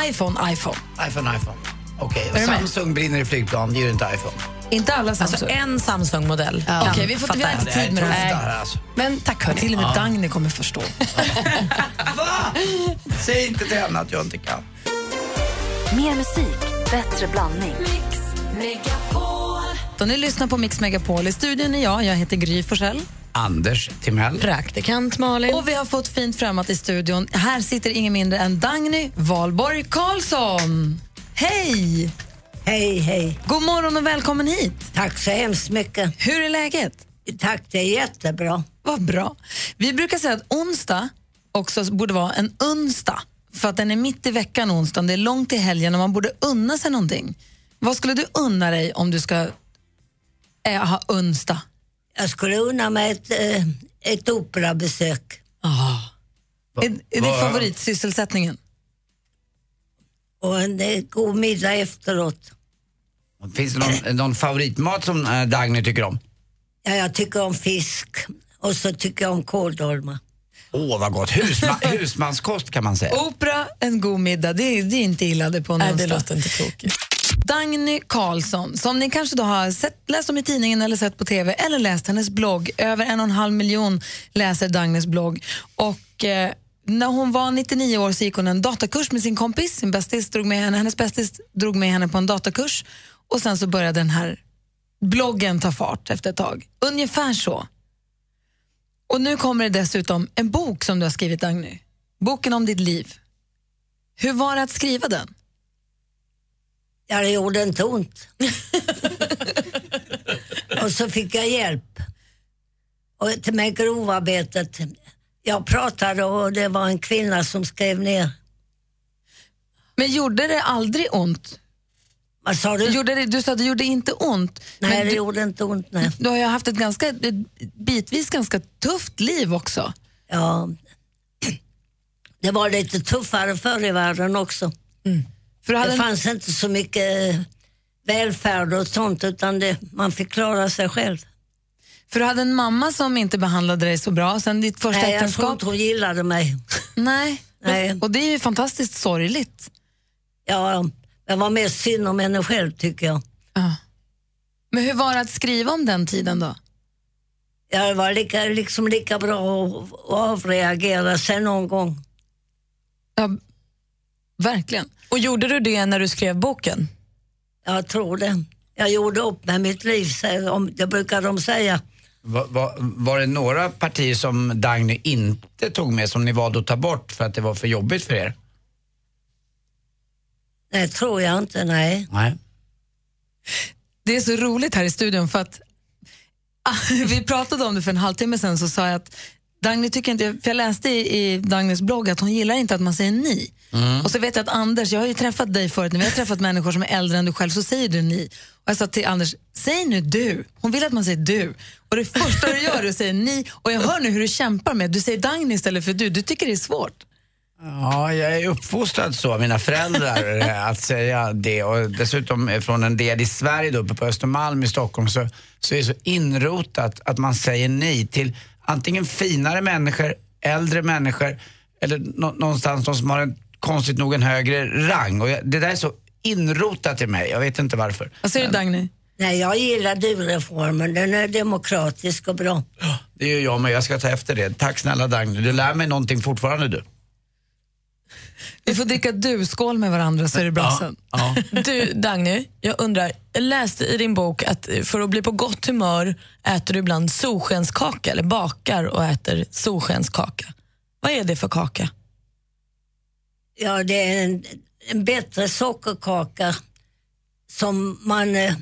[SPEAKER 2] iPhone, iPhone.
[SPEAKER 3] iPhone, iPhone. Okej,
[SPEAKER 2] Är du
[SPEAKER 3] och
[SPEAKER 2] med?
[SPEAKER 3] Samsung brinner i flygplan, det gör inte iPhone.
[SPEAKER 2] Inte alla Samsung.
[SPEAKER 4] Alltså en Samsung-modell.
[SPEAKER 2] Okej, vi, får, vi har inte tid med det
[SPEAKER 3] här. är tufft
[SPEAKER 2] här.
[SPEAKER 3] det här alltså.
[SPEAKER 11] Men tack hörni.
[SPEAKER 2] Till och med
[SPEAKER 3] Ja.
[SPEAKER 2] Dagny kommer förstå. Ah.
[SPEAKER 3] Säg inte till henne att jag inte kan.
[SPEAKER 5] Mer musik, bättre blandning.
[SPEAKER 2] Då ni lyssnar på Mix Megapol. I studion är jag, jag heter Gry Forssell.
[SPEAKER 3] Anders Timell.
[SPEAKER 2] Praktikant Malin. Och vi har fått fint främmat i studion. Här sitter ingen mindre än Dagny Valborg Karlsson. Hej!
[SPEAKER 12] Hej, hej.
[SPEAKER 2] God morgon och välkommen hit.
[SPEAKER 12] Tack så hemskt mycket.
[SPEAKER 2] Hur är läget?
[SPEAKER 12] Tack, det är jättebra.
[SPEAKER 2] Vad bra. Vi brukar säga att onsdag också borde vara en onsdag. För att den är mitt i veckan onsdagen, det är långt till helgen och man borde unna sig någonting. Vad skulle du unna dig om du ska eh, ha onsdag?
[SPEAKER 12] Jag skulle unna mig ett, eh, ett operabesök.
[SPEAKER 2] Är, är det favoritsysselsättningen?
[SPEAKER 12] Och en eh, god middag efteråt.
[SPEAKER 3] Finns det någon, någon favoritmat som eh, Dagny tycker om?
[SPEAKER 12] Ja, jag tycker om fisk och så tycker jag om kåldolmar.
[SPEAKER 3] Åh, vad gott. Husma, husmanskost kan man säga.
[SPEAKER 2] Opera, en god middag, det är, det är inte illa det på en
[SPEAKER 4] Nej, det
[SPEAKER 2] onsdag.
[SPEAKER 4] låter inte tokigt.
[SPEAKER 2] Dagny Karlsson, som ni kanske då har sett, läst om i tidningen eller sett på TV eller läst hennes blogg. Över en och en halv miljon läser Dagnys blogg. Och, eh, när hon var 99 år så gick hon en datakurs med sin kompis. Sin bästis drog med henne, hennes bästis drog med henne på en datakurs och sen så började den här bloggen ta fart efter ett tag. Ungefär så. Och nu kommer det dessutom en bok som du har skrivit Dagny. Boken om ditt liv. Hur var det att skriva den?
[SPEAKER 12] Ja, det gjorde inte ont. och så fick jag hjälp. Och till med grovarbetet. Jag pratade och det var en kvinna som skrev ner.
[SPEAKER 2] Men gjorde det aldrig ont?
[SPEAKER 12] Vad sa du?
[SPEAKER 2] Gjorde det, du sa att det gjorde inte ont.
[SPEAKER 12] Nej,
[SPEAKER 2] men
[SPEAKER 12] det
[SPEAKER 2] du,
[SPEAKER 12] gjorde inte ont. Nej.
[SPEAKER 2] du har ju haft ett ganska, ett bitvis ganska tufft liv också.
[SPEAKER 12] Ja. Det var lite tuffare förr i världen också.
[SPEAKER 2] Mm. För du hade
[SPEAKER 12] det
[SPEAKER 2] en-
[SPEAKER 12] fanns inte så mycket eh, välfärd och sånt utan det, man fick klara sig själv.
[SPEAKER 2] För du hade en mamma som inte behandlade dig så bra sen ditt första
[SPEAKER 12] Nej, jag tror
[SPEAKER 2] äktenskap.
[SPEAKER 12] inte hon gillade mig.
[SPEAKER 2] Nej.
[SPEAKER 12] Nej.
[SPEAKER 2] Och det är ju fantastiskt sorgligt.
[SPEAKER 12] Ja, jag var mest synd om henne själv tycker jag.
[SPEAKER 2] Men hur var det att skriva om den tiden då?
[SPEAKER 12] Ja, det var lika, liksom lika bra att, att avreagera sig någon gång.
[SPEAKER 2] Ja, verkligen.
[SPEAKER 4] Och gjorde du det när du skrev boken?
[SPEAKER 12] Jag tror det. Jag gjorde upp med mitt liv, säger de. det brukar de säga.
[SPEAKER 3] Va, va, var det några partier som Dagny inte tog med som ni valde att ta bort för att det var för jobbigt för er?
[SPEAKER 12] Nej, tror jag inte, nej.
[SPEAKER 3] Nej.
[SPEAKER 2] Det är så roligt här i studion för att ah, vi pratade om det för en halvtimme sen så sa jag att Dagny tycker inte, för jag läste i, i Dagnys blogg att hon gillar inte att man säger ni.
[SPEAKER 3] Mm.
[SPEAKER 13] Mm.
[SPEAKER 2] Och så vet jag att Anders, jag har ju träffat dig förut, när vi har träffat människor som är äldre än du själv så säger du ni. Och jag sa till Anders, säg nu du. Hon vill att man säger du. Och det första du gör är att säga ni. Och jag hör nu hur du kämpar med, du säger Dagny istället för du. Du tycker det är svårt.
[SPEAKER 3] Ja, jag är uppfostrad så av mina föräldrar eh, att säga det. Och dessutom eh, från en del i Sverige, då, uppe på Östermalm i Stockholm, så, så är det så inrotat att man säger nej till antingen finare människor, äldre människor eller nå- någonstans de som har en, konstigt nog en högre rang. Och jag, det där är så inrotat i mig, jag vet inte varför.
[SPEAKER 2] Vad säger du Dagny?
[SPEAKER 12] Nej, jag gillar du-reformen. Den är demokratisk och bra.
[SPEAKER 3] Det gör jag med, jag ska ta efter det. Tack snälla Dagny, du lär mig någonting fortfarande du.
[SPEAKER 2] Vi får dricka du-skål med varandra så är det bra sen.
[SPEAKER 3] Ja.
[SPEAKER 4] Du, Dagny, jag undrar, jag läste i din bok att för att bli på gott humör äter du ibland solskenskaka, eller bakar och äter solskenskaka. Vad är det för kaka?
[SPEAKER 12] Ja, det är en, en bättre sockerkaka som man eh,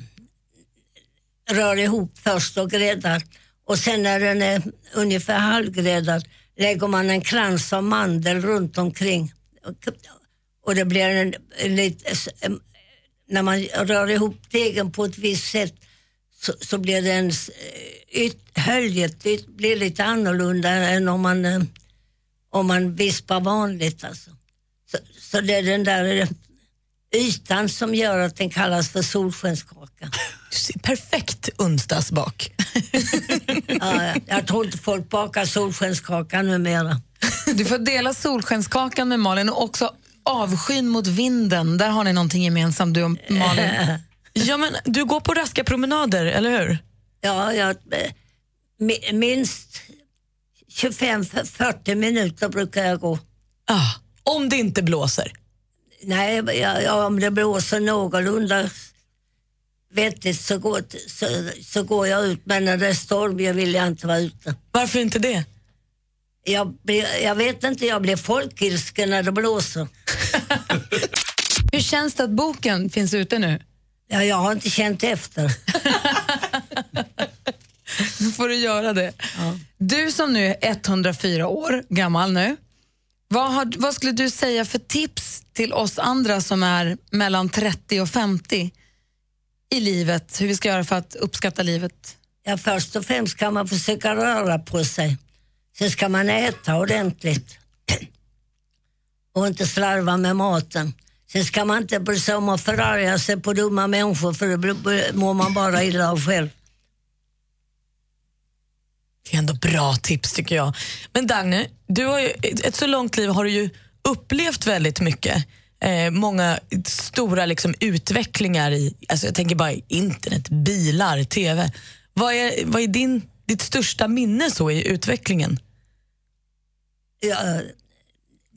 [SPEAKER 12] rör ihop först och gräddar. Och sen när den är ungefär halvgräddad lägger man en krans av mandel runt omkring och det blir en, en lite, när man rör ihop degen på ett visst sätt så, så blir det en, s- eh, yt, höljet yt, blir lite annorlunda än om man, eh, om man vispar vanligt. Alltså. Så, så det är den där eh, ytan som gör att den kallas för solskenskaka.
[SPEAKER 4] Perfekt onsdagsbak.
[SPEAKER 12] ja, jag- jag tror inte folk bakar solskenskaka numera.
[SPEAKER 2] Du får dela solskenskakan med Malin och också avskyn mot vinden. Där har ni någonting gemensamt du och Malin.
[SPEAKER 4] Ja, men du går på raska promenader, eller hur?
[SPEAKER 12] Ja, jag, eh, mi- minst 25-40 minuter brukar jag gå.
[SPEAKER 4] Ah, om det inte blåser?
[SPEAKER 12] Nej, jag, jag, om det blåser någorlunda vettigt så går, så, så går jag ut. Men när det är storm jag vill jag inte vara ute.
[SPEAKER 4] Varför inte det?
[SPEAKER 12] Jag, blir, jag vet inte, jag blir folkilsken när det blåser.
[SPEAKER 2] Hur känns det att boken finns ute nu?
[SPEAKER 12] Ja, jag har inte känt efter.
[SPEAKER 2] Då får du göra det. Du som nu är 104 år gammal nu, vad, har, vad skulle du säga för tips till oss andra som är mellan 30 och 50 i livet, hur vi ska göra för att uppskatta livet?
[SPEAKER 12] Ja, först och främst kan man försöka röra på sig. Sen ska man äta ordentligt och inte slarva med maten. Sen ska man inte bry sig om att förarga sig på dumma människor för det mår man bara illa av själv.
[SPEAKER 4] Det är ändå bra tips tycker jag. Men Dagny, du har ju, ett så långt liv har du ju upplevt väldigt mycket. Eh, många stora liksom, utvecklingar i, alltså, jag tänker bara internet, bilar, TV. Vad är, vad är din, ditt största minne så i utvecklingen?
[SPEAKER 12] Ja,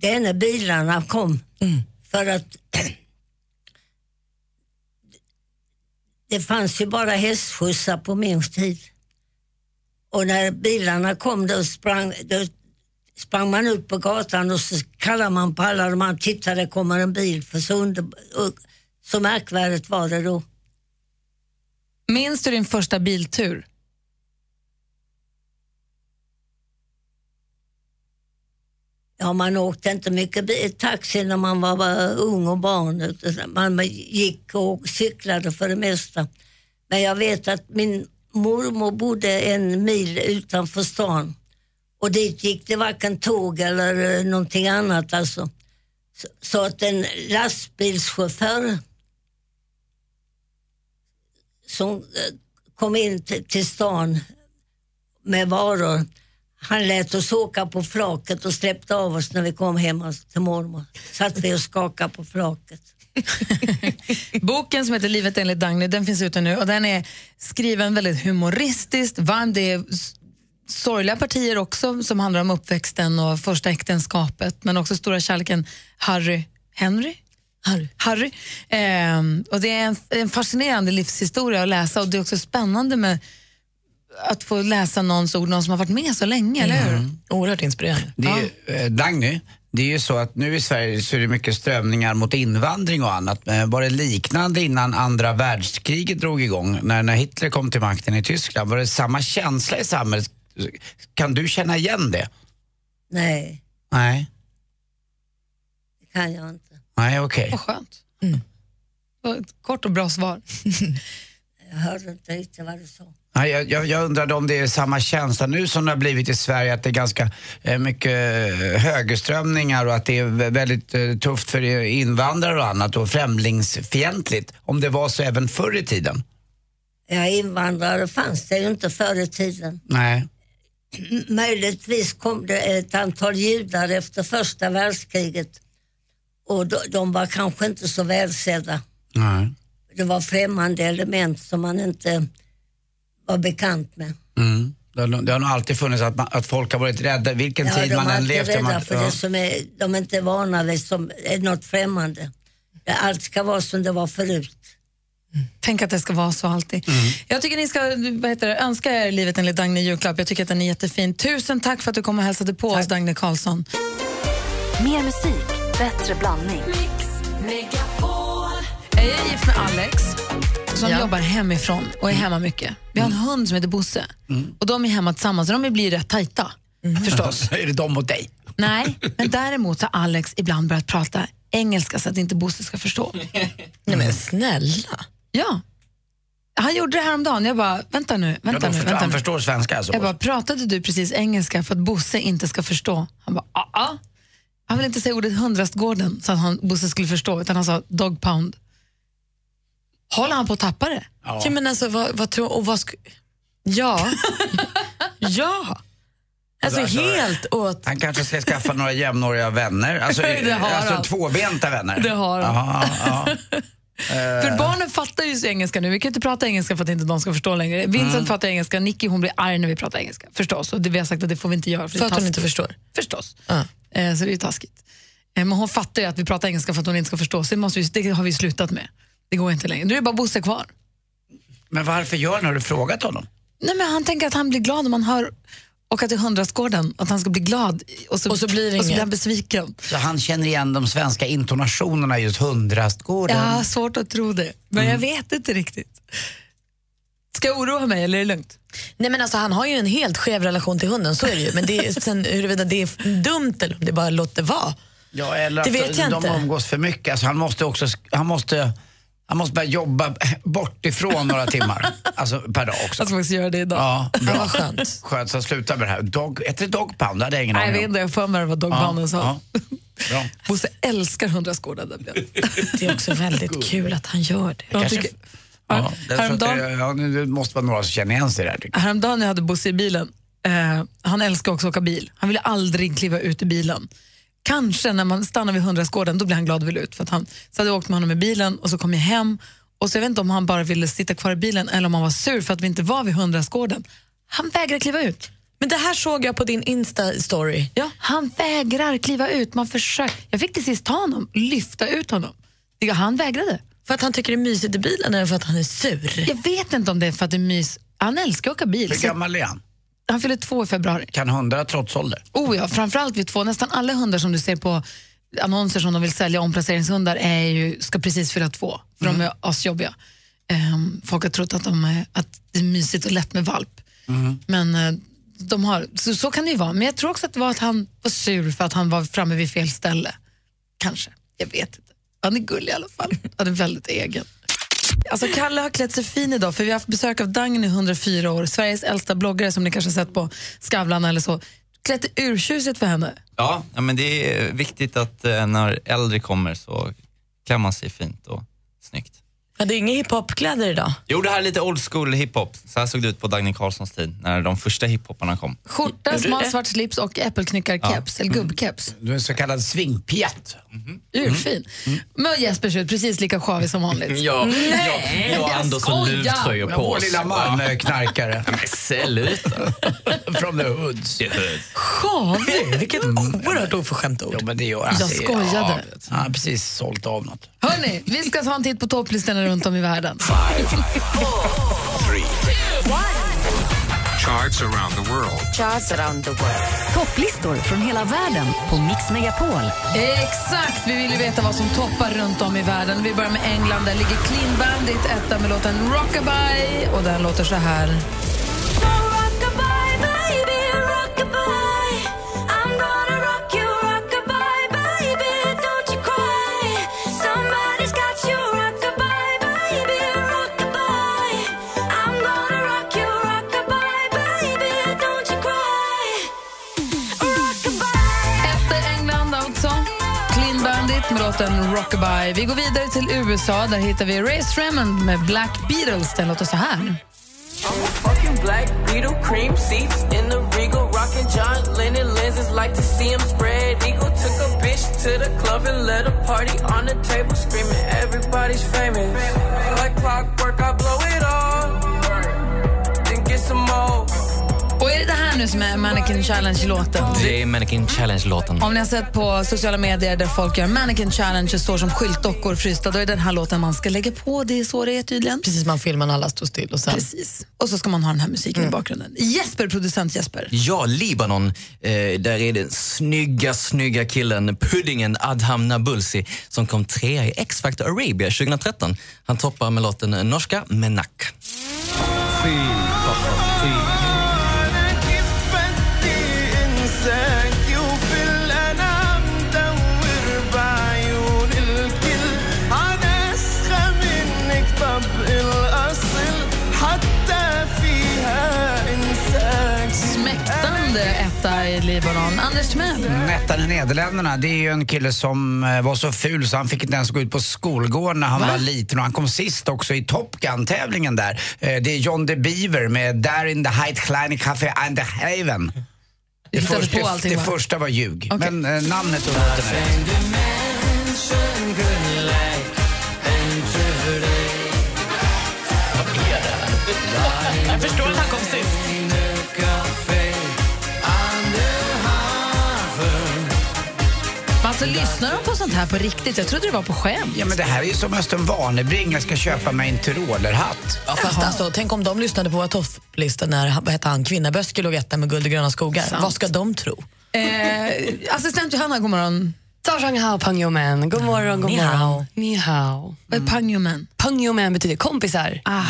[SPEAKER 12] det är när bilarna kom.
[SPEAKER 2] Mm.
[SPEAKER 12] För att det fanns ju bara hästskjutsar på min tid. Och när bilarna kom då sprang, då sprang man ut på gatan och så kallade man på alla och man tittade, det kommer en bil. För så, under, och, så märkvärdigt var det då.
[SPEAKER 2] Minns du din första biltur?
[SPEAKER 12] Ja, man åkte inte mycket bi- taxi när man var var ung och barn. utan Man gick och cyklade för det mesta. Men jag vet att min mormor bodde en mil utanför stan. Och dit gick det varken tåg eller eh, någonting annat. Alltså. Så, så att en lastbilschaufför som eh, kom in till, till stan med varor han lät oss åka på flaket och släppte av oss när vi kom hem till mormor. Satt vi och skakade på flaket.
[SPEAKER 2] Boken som heter Livet enligt Dagny, den finns ute nu och den är skriven väldigt humoristiskt, varm. Det är s- sorgliga partier också som handlar om uppväxten och första äktenskapet men också stora kärleken Harry, Henry? Harry. Harry. Ehm, och det är en, en fascinerande livshistoria att läsa och det är också spännande med att få läsa någons ord, någon som har varit med så länge, eller hur?
[SPEAKER 4] Mm. Oerhört inspirerande.
[SPEAKER 3] Det är, eh, Dagny, det är ju så att nu i Sverige så är det mycket strömningar mot invandring och annat. Men Var det liknande innan andra världskriget drog igång? När, när Hitler kom till makten i Tyskland, var det samma känsla i samhället? Kan du känna igen det?
[SPEAKER 12] Nej,
[SPEAKER 3] Nej,
[SPEAKER 12] det kan jag inte.
[SPEAKER 3] nej okej.
[SPEAKER 2] Vad skönt. Det var ett Kort och bra svar.
[SPEAKER 12] Jag hörde inte riktigt vad du sa.
[SPEAKER 3] Nej, Jag, jag, jag undrade om det är samma känsla nu som det har blivit i Sverige, att det är ganska eh, mycket eh, högerströmningar och att det är vä- väldigt eh, tufft för eh, invandrare och annat och främlingsfientligt. Om det var så även förr i tiden?
[SPEAKER 12] Ja, invandrare fanns det ju inte förr i tiden.
[SPEAKER 3] Nej.
[SPEAKER 12] M- Möjligtvis kom det ett antal judar efter första världskriget och de, de var kanske inte så välsedda.
[SPEAKER 3] Nej.
[SPEAKER 12] Det var främmande element som man inte var bekant med.
[SPEAKER 3] Mm. Det, har, nog- det har nog alltid funnits att, man, att folk har varit rädda, vilken
[SPEAKER 12] Ja,
[SPEAKER 3] tid
[SPEAKER 12] de
[SPEAKER 3] man
[SPEAKER 12] är
[SPEAKER 3] än
[SPEAKER 12] alltid
[SPEAKER 3] levt. har
[SPEAKER 12] rädda
[SPEAKER 3] Man,
[SPEAKER 12] för
[SPEAKER 3] ja.
[SPEAKER 12] det som är, de är inte vana vid, som är något främmande. Allt ska vara som det var förut.
[SPEAKER 2] Tänk att det ska vara så alltid. Jag tycker ni ska vad heter det, önska er livet enligt Dagny i julklapp. Jag tycker att den är jättefin. Tusen tack för att du kom och hälsade på oss, Dagny Karlsson.
[SPEAKER 5] Mer musik, bättre blandning.
[SPEAKER 2] Jag är gift med Alex som
[SPEAKER 5] Ja.
[SPEAKER 2] jobbar
[SPEAKER 3] Mm.
[SPEAKER 2] hemifrån och är hemma mycket. Vi har en hund som heter Bosse och de är hemma tillsammans och de blir rätt tajta. förstås.
[SPEAKER 3] är det de mot dig?
[SPEAKER 2] Nej, men däremot så har Alex ibland börjat prata engelska så att inte Bosse ska förstå. Nej men snälla. Ja. Han gjorde det här om dagen. Jag bara, vänta nu,
[SPEAKER 3] Ja,
[SPEAKER 2] vänta
[SPEAKER 3] då
[SPEAKER 2] nu,
[SPEAKER 3] förstår,
[SPEAKER 2] vänta
[SPEAKER 3] han
[SPEAKER 2] nu.
[SPEAKER 3] förstår svenska alltså?
[SPEAKER 2] Jag bara, pratade du precis engelska för att Bosse inte ska förstå? Han bara, ja. ja. Han vill inte säga ordet hundrastgården så att han, Bosse skulle förstå, utan han sa dog pound. Håller han på att tappa det?
[SPEAKER 4] Ja. men alltså, vad, vad tror... Och vad sk- ja. ja. Alltså,
[SPEAKER 3] Alltså,
[SPEAKER 4] helt åt...
[SPEAKER 3] Han kanske ska skaffa några jämnåriga vänner? Alltså,
[SPEAKER 2] Det har
[SPEAKER 3] alltså
[SPEAKER 2] han.
[SPEAKER 3] tvåbenta vänner?
[SPEAKER 2] Det har han.
[SPEAKER 3] Jaha, ja. Eh,
[SPEAKER 2] För barnen fattar ju så engelska nu. Vi kan ju inte prata engelska för att inte de ska förstå längre. Vincent
[SPEAKER 3] Mm.
[SPEAKER 2] fattar engelska, Nicky hon blir arg när vi pratar engelska. Förstås. Och det, vi har sagt att det får vi inte göra. För,
[SPEAKER 4] För
[SPEAKER 2] det är
[SPEAKER 4] att hon
[SPEAKER 2] taskigt.
[SPEAKER 4] inte förstår.
[SPEAKER 2] Förstås. Eh, så det är ju taskigt. Eh, men hon fattar ju att vi pratar engelska för att hon inte ska förstå. Så det, måste vi, det har vi ju slutat med. Det går inte längre. Nu är det bara Bosse kvar.
[SPEAKER 3] Men varför gör han? Har du frågat honom?
[SPEAKER 2] Nej, men han tänker att han blir glad om han hör och att det är hundrastgården, att han ska bli glad och så,
[SPEAKER 3] Och så blir det
[SPEAKER 2] och så blir
[SPEAKER 3] inget.
[SPEAKER 2] han besviken.
[SPEAKER 3] Så han känner igen de svenska intonationerna i just hundrastgården?
[SPEAKER 2] Jag har svårt att tro det, men
[SPEAKER 3] Mm.
[SPEAKER 2] jag vet inte riktigt. Ska jag oroa mig eller är det lugnt?
[SPEAKER 4] Nej, men alltså, han har ju en helt skev relation till hunden, så är det ju. Men det är, sen, huruvida det är dumt eller om det bara låter vara.
[SPEAKER 3] Ja, eller
[SPEAKER 4] Det
[SPEAKER 3] att
[SPEAKER 4] vet jag
[SPEAKER 3] de
[SPEAKER 4] inte.
[SPEAKER 3] umgås för mycket. Alltså, han måste också, han måste, han måste börja jobba bortifrån några timmar. Alltså per dag också.
[SPEAKER 2] Jag ska faktiskt göra det idag.
[SPEAKER 3] Ja, bra.
[SPEAKER 2] Det var skönt.
[SPEAKER 3] Skönt, så sluta med det här. Dog, heter det dog pound? Det hade jag ingen
[SPEAKER 2] Nej, jag
[SPEAKER 3] aning
[SPEAKER 2] vet
[SPEAKER 3] om.
[SPEAKER 2] inte, jag har för mig det var Dog Barnen sa.
[SPEAKER 3] ja. Bra.
[SPEAKER 2] Bosse älskar hundrastgården. där blev det.
[SPEAKER 4] Det är också väldigt kul att han gör det.
[SPEAKER 2] Jag
[SPEAKER 3] Kanske-
[SPEAKER 2] tycker-
[SPEAKER 3] Ja, det, är så att
[SPEAKER 2] häromdagen-
[SPEAKER 3] det, ja, nu- det måste vara några som känner igen sig där. tycker
[SPEAKER 2] Häromdagen när jag hade Bosse i bilen, eh, han älskar också att åka bil. Han ville aldrig kliva ut ur bilen. Kanske när man stannar vid hundrastgården, då blir han glad och vill ut. För att han, så hade jag åkt med honom i bilen och så kom jag hem och så jag vet inte om han bara ville sitta kvar i bilen eller om han var sur för att vi inte var vid hundrastgården. Han vägrar kliva ut.
[SPEAKER 4] Men det här såg jag på din Insta-story.
[SPEAKER 2] Ja, han vägrar kliva ut. Man försöker. Jag fick till sist ta honom, lyfta ut honom. Det- Han vägrade.
[SPEAKER 4] För att han tycker det är mysigt i bilen eller för att han är sur?
[SPEAKER 2] Jag vet inte om det är för att det är mys. Han älskar att åka bil.
[SPEAKER 3] jag. Hur
[SPEAKER 2] så-
[SPEAKER 3] gammal är han?
[SPEAKER 2] Han fyller två i februari.
[SPEAKER 3] Kan hundra trots ålder?
[SPEAKER 2] Oh ja, framförallt vid två. Nästan alla hundar som du ser på annonser som de vill sälja omplaceringshundar är ju, ska precis fylla två, för de är asjobbiga. Ehm, folk har trott att, de är, att det är mysigt och lätt med valp. Men eh, de har, så, så kan det ju vara. Men jag tror också att det var att han var sur för att han var framme vid fel ställe. Kanske. Jag vet inte. Han är gullig i alla fall. Han är väldigt egen. Alltså Kalle har klätt sig fin idag för vi har haft besök av Dagny 104 år, Sveriges äldsta bloggare som ni kanske har sett på Skavlan eller så. Klätt urtjusigt för henne.
[SPEAKER 14] Ja, ja, men det är viktigt att eh, när äldre kommer så klär man sig fint och snyggt.
[SPEAKER 4] Ja, det är inga hiphopkläder idag.
[SPEAKER 14] Jo, det här är lite old school hiphop. Så här såg det ut på Dagny Carlssons tid när de första hiphoparna kom.
[SPEAKER 2] Skjorta, smal svart slips och äppelknyckarkeps, eller gubbkeps.
[SPEAKER 3] Mm. Du är en så kallad Mm. svingpjatt.
[SPEAKER 2] Urfin. Men Jesper ser ut precis lika sjavig som vanligt.
[SPEAKER 14] Ja,
[SPEAKER 2] Nej,
[SPEAKER 14] jag, jag har ändå så
[SPEAKER 2] skojar!
[SPEAKER 14] luvtröjor på
[SPEAKER 3] Vår
[SPEAKER 14] oss.
[SPEAKER 3] lilla Malmöknarkare.
[SPEAKER 14] Men sluta.
[SPEAKER 3] From the hoods.
[SPEAKER 2] Sjavig?
[SPEAKER 4] Vilket oerhört oförskämt ord.
[SPEAKER 3] Jo, men det gör han.
[SPEAKER 2] Mm. Jag
[SPEAKER 3] Det är-
[SPEAKER 2] skojade.
[SPEAKER 3] ja, Han har precis sålt av något.
[SPEAKER 2] Hörni, vi ska ta en titt på topplistorna runt om i världen.
[SPEAKER 13] Charts around the world.
[SPEAKER 5] Charts around the world. Topplistor från hela världen på Mix Megapol.
[SPEAKER 2] Exakt! Vi vill ju veta vad som toppar runt om i världen. Vi börjar med England. Där ligger Clean Bandit etta med låten Rockabye. Och den låter så här. Efter England alltså. Clean Bandit med låten Rockabye. Vi går vidare till USA. Där hittar vi Ray Stremmond med Black Beatles. Den låter så här.
[SPEAKER 15] Fucking black beetle, cream seats in the regal, rocking John Lennon lenses, like to see him spread eagle. Took a bitch to the club and let a party on the table, screaming everybody's famous. Like clockwork, I blow it all, then get some more.
[SPEAKER 2] Och är det det här nu som är Mannequin Challenge-låten?
[SPEAKER 14] Det är Mannequin Challenge-låten.
[SPEAKER 2] Om ni har sett på sociala medier där folk gör mannequin challenge och står som skyltdockor frysta, då är den här låten man ska lägga på. Det är så det är tydligen.
[SPEAKER 4] Precis, man filmar när alla står still och sen... Mm.
[SPEAKER 2] Precis. Och så ska man ha den här musiken i bakgrunden. Jesper, producent Jesper.
[SPEAKER 14] Ja, Libanon. Eh, där är den snygga, snygga killen, puddingen Adham Nabulsi som kom trea i X-Factor Arabia 2013. Han toppar med låten Norska Menak.
[SPEAKER 15] Fy, pappa, fy.
[SPEAKER 13] ساكي وفي الأنام دور بعيون الكل عناسخة منك طب الأصل حتى فيها إنساك
[SPEAKER 2] Mäktande etta i Libanon. Anders Timell.
[SPEAKER 3] Nettan i Nederländerna, det är ju en kille som eh, var så ful så han fick inte ens gå ut på skolgården när han var liten och han kom sist också i Top Gun-tävlingen där. Eh, Det är John de Beaver med Där in the Height Kleine Café and the Haven. Det,
[SPEAKER 13] hittade
[SPEAKER 3] första,
[SPEAKER 13] på allting,
[SPEAKER 3] det
[SPEAKER 13] va?
[SPEAKER 3] första var ljug,
[SPEAKER 13] Okej.
[SPEAKER 3] men eh, namnet och låten är rätt.
[SPEAKER 13] Jag förstår att han kom sist.
[SPEAKER 2] Men Alltså, lyssnar de på sånt här på riktigt? Jag trodde det var på skämt.
[SPEAKER 3] Ja men det här är ju som Östen Warnerbring, jag ska köpa mig en tyrolerhatt.
[SPEAKER 4] Ja, fast alltså, tänk om de lyssnade på våra topplistor när han- vad hette han, Kvinnaböske låg etta med guld och gröna skogar.
[SPEAKER 2] Sant.
[SPEAKER 4] Vad ska de tro?
[SPEAKER 2] Eh, assistent Johanna, god morgon.
[SPEAKER 11] Zhang hao pangyomen. God morgon, god
[SPEAKER 2] Ni
[SPEAKER 11] morgon.
[SPEAKER 2] hao.
[SPEAKER 11] Ni hao.
[SPEAKER 2] Vad är pangyomen?
[SPEAKER 11] Pangyomen betyder kompisar.
[SPEAKER 2] Ah.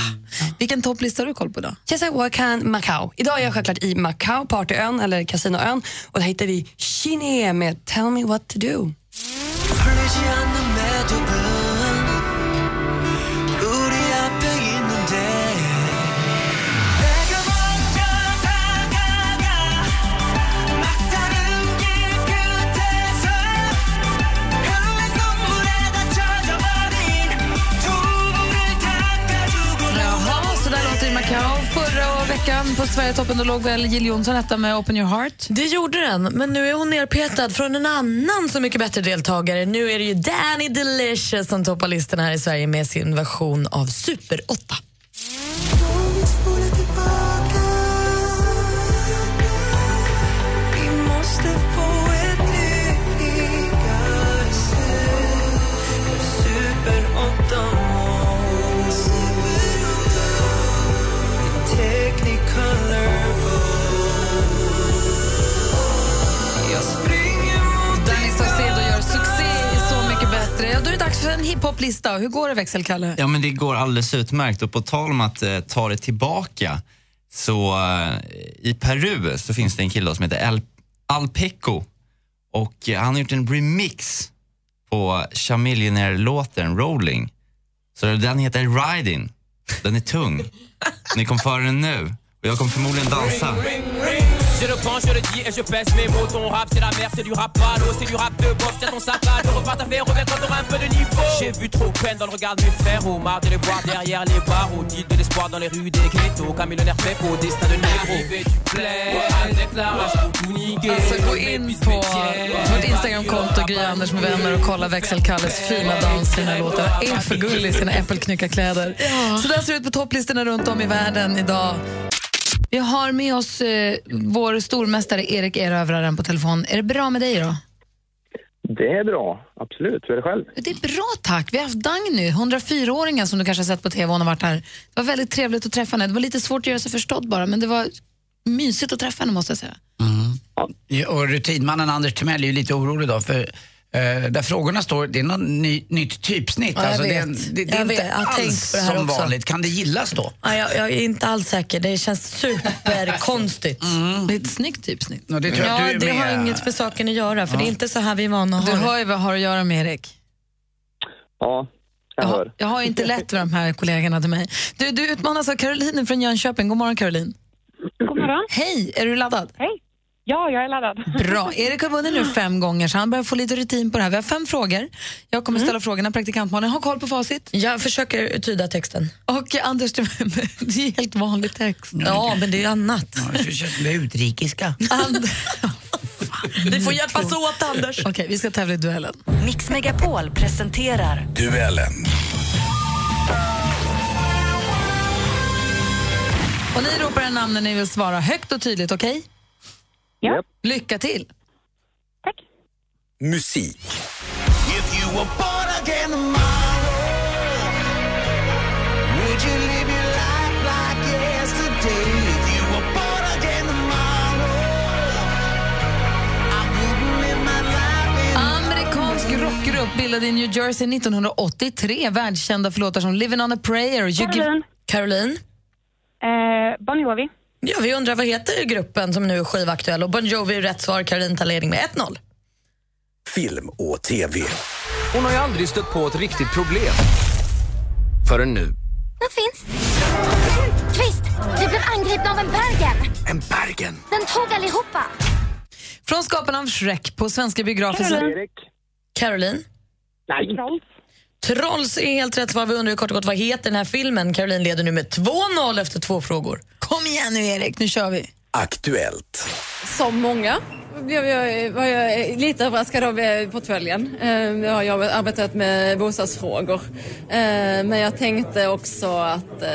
[SPEAKER 2] Vilken topplista har du koll på då?
[SPEAKER 11] Yes, I work in Macau. Idag är jag självklart i Macau, partyön eller kasinoön. Och där hittar vi Chiné med Tell me what to do.
[SPEAKER 13] 흐르지 않는 매듭은 우리 앞에 있는데 내가 먼저 다가가 막다른 길 끝에서 흐르는 눈물에다 젖어버린 두부를 닦아주고
[SPEAKER 2] Jaha, så där låter det i Macau. Förra veckan på Sverigetoppen då låg väl Jill Johnson etta med Open Your Heart?
[SPEAKER 4] Det gjorde den, men nu är hon nerpetad från en annan så mycket bättre deltagare. Nu är det ju Danny Delicious som toppar listan här i Sverige med sin version av Super 8.
[SPEAKER 13] Vi måste få ett nytt slut För Super 8-mål Technicolor Gold. Jag springer mot
[SPEAKER 2] Danny Saucedo gör succé i Så mycket bättre. Ja, då är det dags för en hiphoplista. Hur går det, växelkalle?
[SPEAKER 16] Ja, men det går alldeles utmärkt. Och på tal om att eh, ta det tillbaka, så eh, i Peru så finns det en kille som heter Al Alpeco. Och eh, han har gjort en remix på Chamillionaire-låten Rolling. Så den heter Riding. Den är tung. Ni kom före den nu. Och jag kommer förmodligen dansa.
[SPEAKER 17] Je le prends, je le dis et je pèse mes mots. Ton rap, c'est la merde, c'est du rap ballot, c'est du rap de bof. Tiens ton sac à dos, repars ta fait, reviens quand t'auras un peu de niveau. J'ai vu trop peine dans le regard de mes frères, au marre de les voir derrière les barreaux. Deal de l'espoir dans les rues des ghettos, qu'un millionnaire fait pour destin de négro. Arrivé, tu plais, avec la rage, faut tout niquer.
[SPEAKER 2] Alltså gå in på vårt Instagramkonto, Gry Anders med vänner och kolla växelkalles fina dans till den här låten. Han är för gullig i sina äppelknyckarkläder. Så där ser det ut på topplistorna runt om i världen idag. Vi har med oss eh, vår stormästare Erik Erövraren på telefon. Är det bra med dig idag?
[SPEAKER 18] Det är bra, absolut. Hur är det själv?
[SPEAKER 2] Det är bra tack. Vi har haft Dagny, 104-åringen som du kanske har sett på tv. Hon har varit här. Det var väldigt trevligt att träffa henne. Det var lite svårt att göra sig förstådd bara, men det var mysigt att träffa henne måste jag säga.
[SPEAKER 3] Ja, Och rutinmannen Anders Timell är ju lite orolig då för eh, där frågorna står, det är något ny, nytt typsnitt. Alltså,
[SPEAKER 4] Ja, jag
[SPEAKER 3] det, är en-
[SPEAKER 4] vet.
[SPEAKER 3] det, det är
[SPEAKER 4] Jag
[SPEAKER 3] inte
[SPEAKER 4] vet. Jag har tänkt
[SPEAKER 3] alls
[SPEAKER 4] på det här
[SPEAKER 3] som
[SPEAKER 4] också.
[SPEAKER 3] vanligt. Kan det gillas då?
[SPEAKER 4] Ja, jag, jag är inte alls säker. Det känns superkonstigt.
[SPEAKER 2] Mm. Det är ett snyggt typsnitt.
[SPEAKER 3] Ja, det tror jag
[SPEAKER 4] ja,
[SPEAKER 3] du är
[SPEAKER 4] det
[SPEAKER 3] med.
[SPEAKER 4] har inget med saken att göra, för
[SPEAKER 3] Ja.
[SPEAKER 4] det är inte så här vi är vana att
[SPEAKER 2] Du
[SPEAKER 4] ha det.
[SPEAKER 2] hör ju vad jag har att göra med Erik.
[SPEAKER 18] Ja, jag hör.
[SPEAKER 2] Jag har ju inte lätt med de här kollegorna till mig. Du, du utmanas av Caroline från Jönköping. God morgon Caroline. God morgon. Hej, är du laddad? Hej. Ja, jag är laddad. Bra. Erik har vunnit nu fem gånger så han börjar få lite rutin på det här. Vi har fem frågor. Jag kommer ställa frågorna. Praktikantmannen har koll på facit.
[SPEAKER 4] Jag försöker tyda texten. Mm.
[SPEAKER 2] Och Anders, det är helt vanlig text.
[SPEAKER 4] Ja, men det är annat.
[SPEAKER 3] Det känns som det är utrikiska.
[SPEAKER 4] Vi får hjälpas åt, Anders.
[SPEAKER 2] Okej, vi ska tävla i duellen.
[SPEAKER 5] Mix Megapol presenterar
[SPEAKER 9] Duellen.
[SPEAKER 2] Och ni ropar en namn när ni vill svara högt och tydligt, okej? Ja. Lycka till.
[SPEAKER 9] Musik.
[SPEAKER 13] If you were born again tomorrow, would you live your life like yesterday? If you were born again tomorrow, I wouldn't live my life in
[SPEAKER 2] Amerikansk rockgrupp bildad i New Jersey 1983. Världskända för låtar som Living on a prayer och You Give- Caroline.
[SPEAKER 19] Eh, Bon Jovi.
[SPEAKER 4] Ja, vi undrar vad heter gruppen som nu är skivaktuell och Bon Jovi är rätt svar. Caroline tar ledning med 1-0.
[SPEAKER 20] Film och TV.
[SPEAKER 19] Hon har ju aldrig stött på ett riktigt problem. Förrän nu.
[SPEAKER 21] Vad finns? Kvist! Vi blev angripna av en Bergen.
[SPEAKER 20] En Bergen.
[SPEAKER 21] Den tog allihopa.
[SPEAKER 2] Från skaparna av Shrek på svenska biografer...
[SPEAKER 21] Caroline.
[SPEAKER 4] Caroline?
[SPEAKER 21] Nej.
[SPEAKER 4] Trolls är helt rätt svar. Vi undrar ju kort och gott vad heter den här filmen? Caroline leder nu med 2-0 efter två frågor. Kom igen nu Erik, nu kör vi.
[SPEAKER 20] Aktuellt.
[SPEAKER 22] Som många blev jag, var jag lite överraskad av eh, portföljen. Eh, Jag har jobbat- arbetat med bostadsfrågor. Eh, Men jag tänkte också att, eh,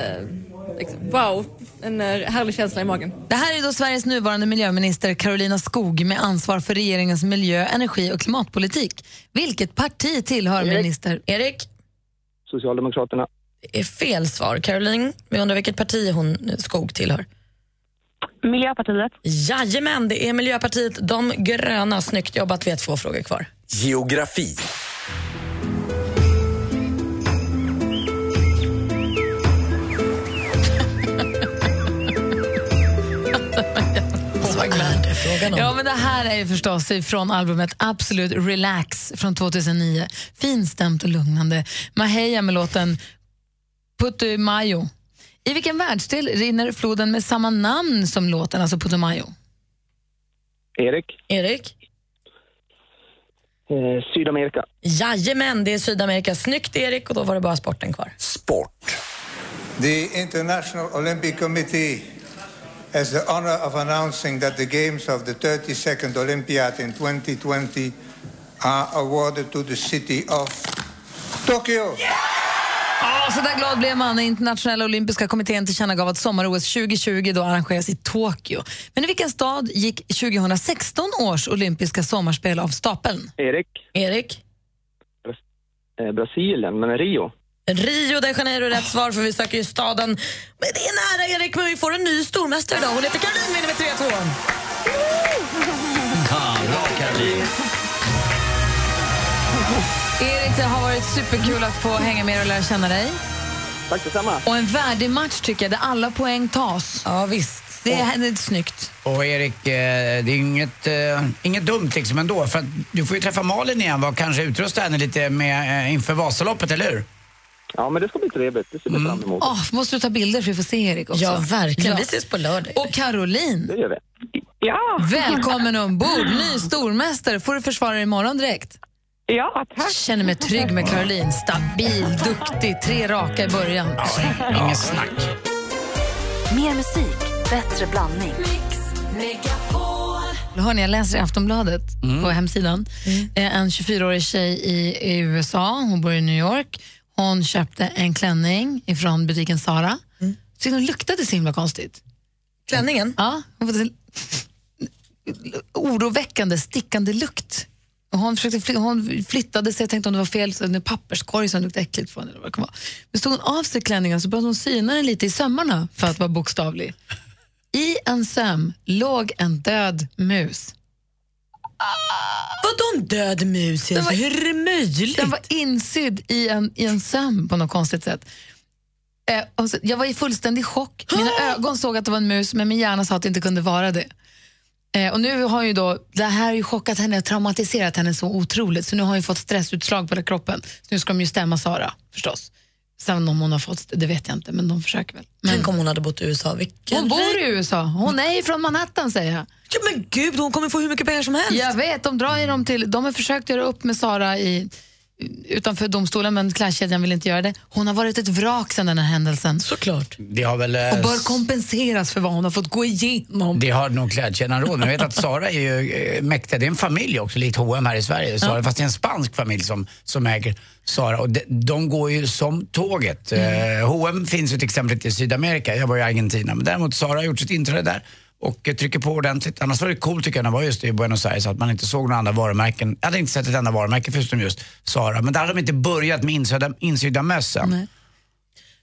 [SPEAKER 22] liksom, wow, en eh, härlig känsla i magen.
[SPEAKER 2] Det här är då Sveriges nuvarande miljöminister Karolina Skog med ansvar för regeringens miljö-, energi och klimatpolitik. Vilket parti tillhör
[SPEAKER 18] Erik.
[SPEAKER 2] minister
[SPEAKER 4] Erik?
[SPEAKER 18] Socialdemokraterna.
[SPEAKER 4] Det är fel svar. Caroline, vi undrar vilket parti hon, Skog, tillhör. Miljöpartiet. Jajamän, det är Miljöpartiet de gröna. Snyggt jobbat, vi har två frågor kvar.
[SPEAKER 20] Geografi.
[SPEAKER 2] Ja, men det här är ju förstås från albumet Absolute Relax från 2009. Finstämt och lugnande. Maheya med låten Putumayo. I vilken världsdel rinner floden med samma namn som låten, alltså Putumayo?
[SPEAKER 18] Erik.
[SPEAKER 4] Erik?
[SPEAKER 18] Eh, Sydamerika.
[SPEAKER 4] Jajamän, det är Sydamerika. Snyggt Erik, och då var det bara sporten kvar.
[SPEAKER 20] Sport.
[SPEAKER 23] The International Olympic Committee has the honor of announcing that the games of the 32nd Olympiad in 2020 are awarded to the city of Tokyo.
[SPEAKER 2] Ja, så där glad blev man när Internationella olympiska kommittén tillkännagav att sommar-OS 2020 då arrangeras i Tokyo. Men i vilken stad gick 2016 års olympiska sommarspel av stapeln?
[SPEAKER 18] Erik.
[SPEAKER 4] Erik?
[SPEAKER 18] Eh, Brasilien, men Rio.
[SPEAKER 4] Rio de Janeiro är rätt svar, för vi söker ju staden. Men det är nära Erik, men vi får en ny stormästare idag. Hon heter Caroline, vinner med 3-2.
[SPEAKER 13] Ja, bra Caroline.
[SPEAKER 2] Erik, det har varit superkul att få hänga med och lära känna dig.
[SPEAKER 18] Tack detsamma.
[SPEAKER 2] Och en värdig match tycker jag, där alla poäng tas.
[SPEAKER 4] Ja, visst.
[SPEAKER 2] Det är, det är snyggt.
[SPEAKER 3] Och Erik, eh, det är inget, eh, inget dumt liksom ändå. För att du får ju träffa Malin igen och kanske utrusta henne lite med, eh, inför Vasaloppet, eller hur?
[SPEAKER 18] Ja, men det ska bli trevligt. Det ser vi fram emot.
[SPEAKER 2] Åh, måste du ta bilder för att vi får se Erik också?
[SPEAKER 4] Ja, verkligen. Vi ses på lördag.
[SPEAKER 2] Och Caroline.
[SPEAKER 18] Det gör vi.
[SPEAKER 2] Ja. Välkommen ombord, ny stormästare. Får du försvara dig imorgon direkt? Ja, tack. Känner mig trygg med Caroline. Stabil, duktig, tre raka i början.
[SPEAKER 3] Inget snack.
[SPEAKER 5] Mer musik, bättre blandning.
[SPEAKER 2] Hörni, jag läser i Aftonbladet
[SPEAKER 18] Mm.
[SPEAKER 2] på hemsidan.
[SPEAKER 4] Mm.
[SPEAKER 2] Eh, En 24-årig tjej i i USA, hon bor i New York. Hon köpte en klänning ifrån butiken Zara. Mm. Så den luktade så himla konstigt.
[SPEAKER 4] Klänningen?
[SPEAKER 2] Ja, hon fått en oroväckande, stickande lukt. Och hon, försökte fly- hon flyttade sig, jag tänkte om det var fel, så en papperskorg som luktade äckligt från. Eller vad det kan vara. Men stod hon av sig klänningen så började hon syna den lite i sömmarna för att vara bokstavlig. I en söm låg en död mus.
[SPEAKER 4] Vadå en död mus? Alltså, hur är det möjligt?
[SPEAKER 2] Den var insydd i en, i en söm på något konstigt sätt. Eh, och så, jag var i fullständig chock. Mina ögon såg att det var en mus, men min hjärna sa att det inte kunde vara det. Eh, och nu har ju då, det här har ju chockat henne och traumatiserat henne så otroligt, så nu har hon ju fått stressutslag på hela kroppen. Så nu ska de ju stämma Sara, förstås. Sen om hon har fått det, det vet jag inte, men de försöker väl.
[SPEAKER 4] Tänk om hon hade bott i USA. Vilken
[SPEAKER 2] Hon bor i USA. Hon är ju från Manhattan, säger jag.
[SPEAKER 4] Ja, men gud, hon kommer få hur mycket pengar som helst.
[SPEAKER 2] Jag vet, de drar ju dem till... De har försökt göra upp med Sara i, utanför domstolen, men klädkedjan vill inte göra det. Hon har varit ett vrak sedan den här händelsen.
[SPEAKER 4] Såklart.
[SPEAKER 3] Det har väl... eh,
[SPEAKER 2] Och bör kompenseras för vad hon har fått gå igenom.
[SPEAKER 3] Det har nog klädkedjan råd med. Jag vet att Sara är ju eh, mäktig. Det är en familj också, likt H&M här i Sverige. Sara,
[SPEAKER 2] Ja.
[SPEAKER 3] Fast det är en spansk familj som, som äger Sara. Och de, de går ju som tåget. Mm. H&M finns ju till exempel i Sydamerika. Jag var i Argentina. Men däremot Sara har gjort sitt inträde där och eh, trycker på ordentligt. Annars var det coolt tycker jag när jag var just i Buenos Aires att man inte såg några andra varumärken. Jag hade inte sett ett enda varumärke förutom just Sara. Men där hade de inte börjat med insydda, insydda mössen.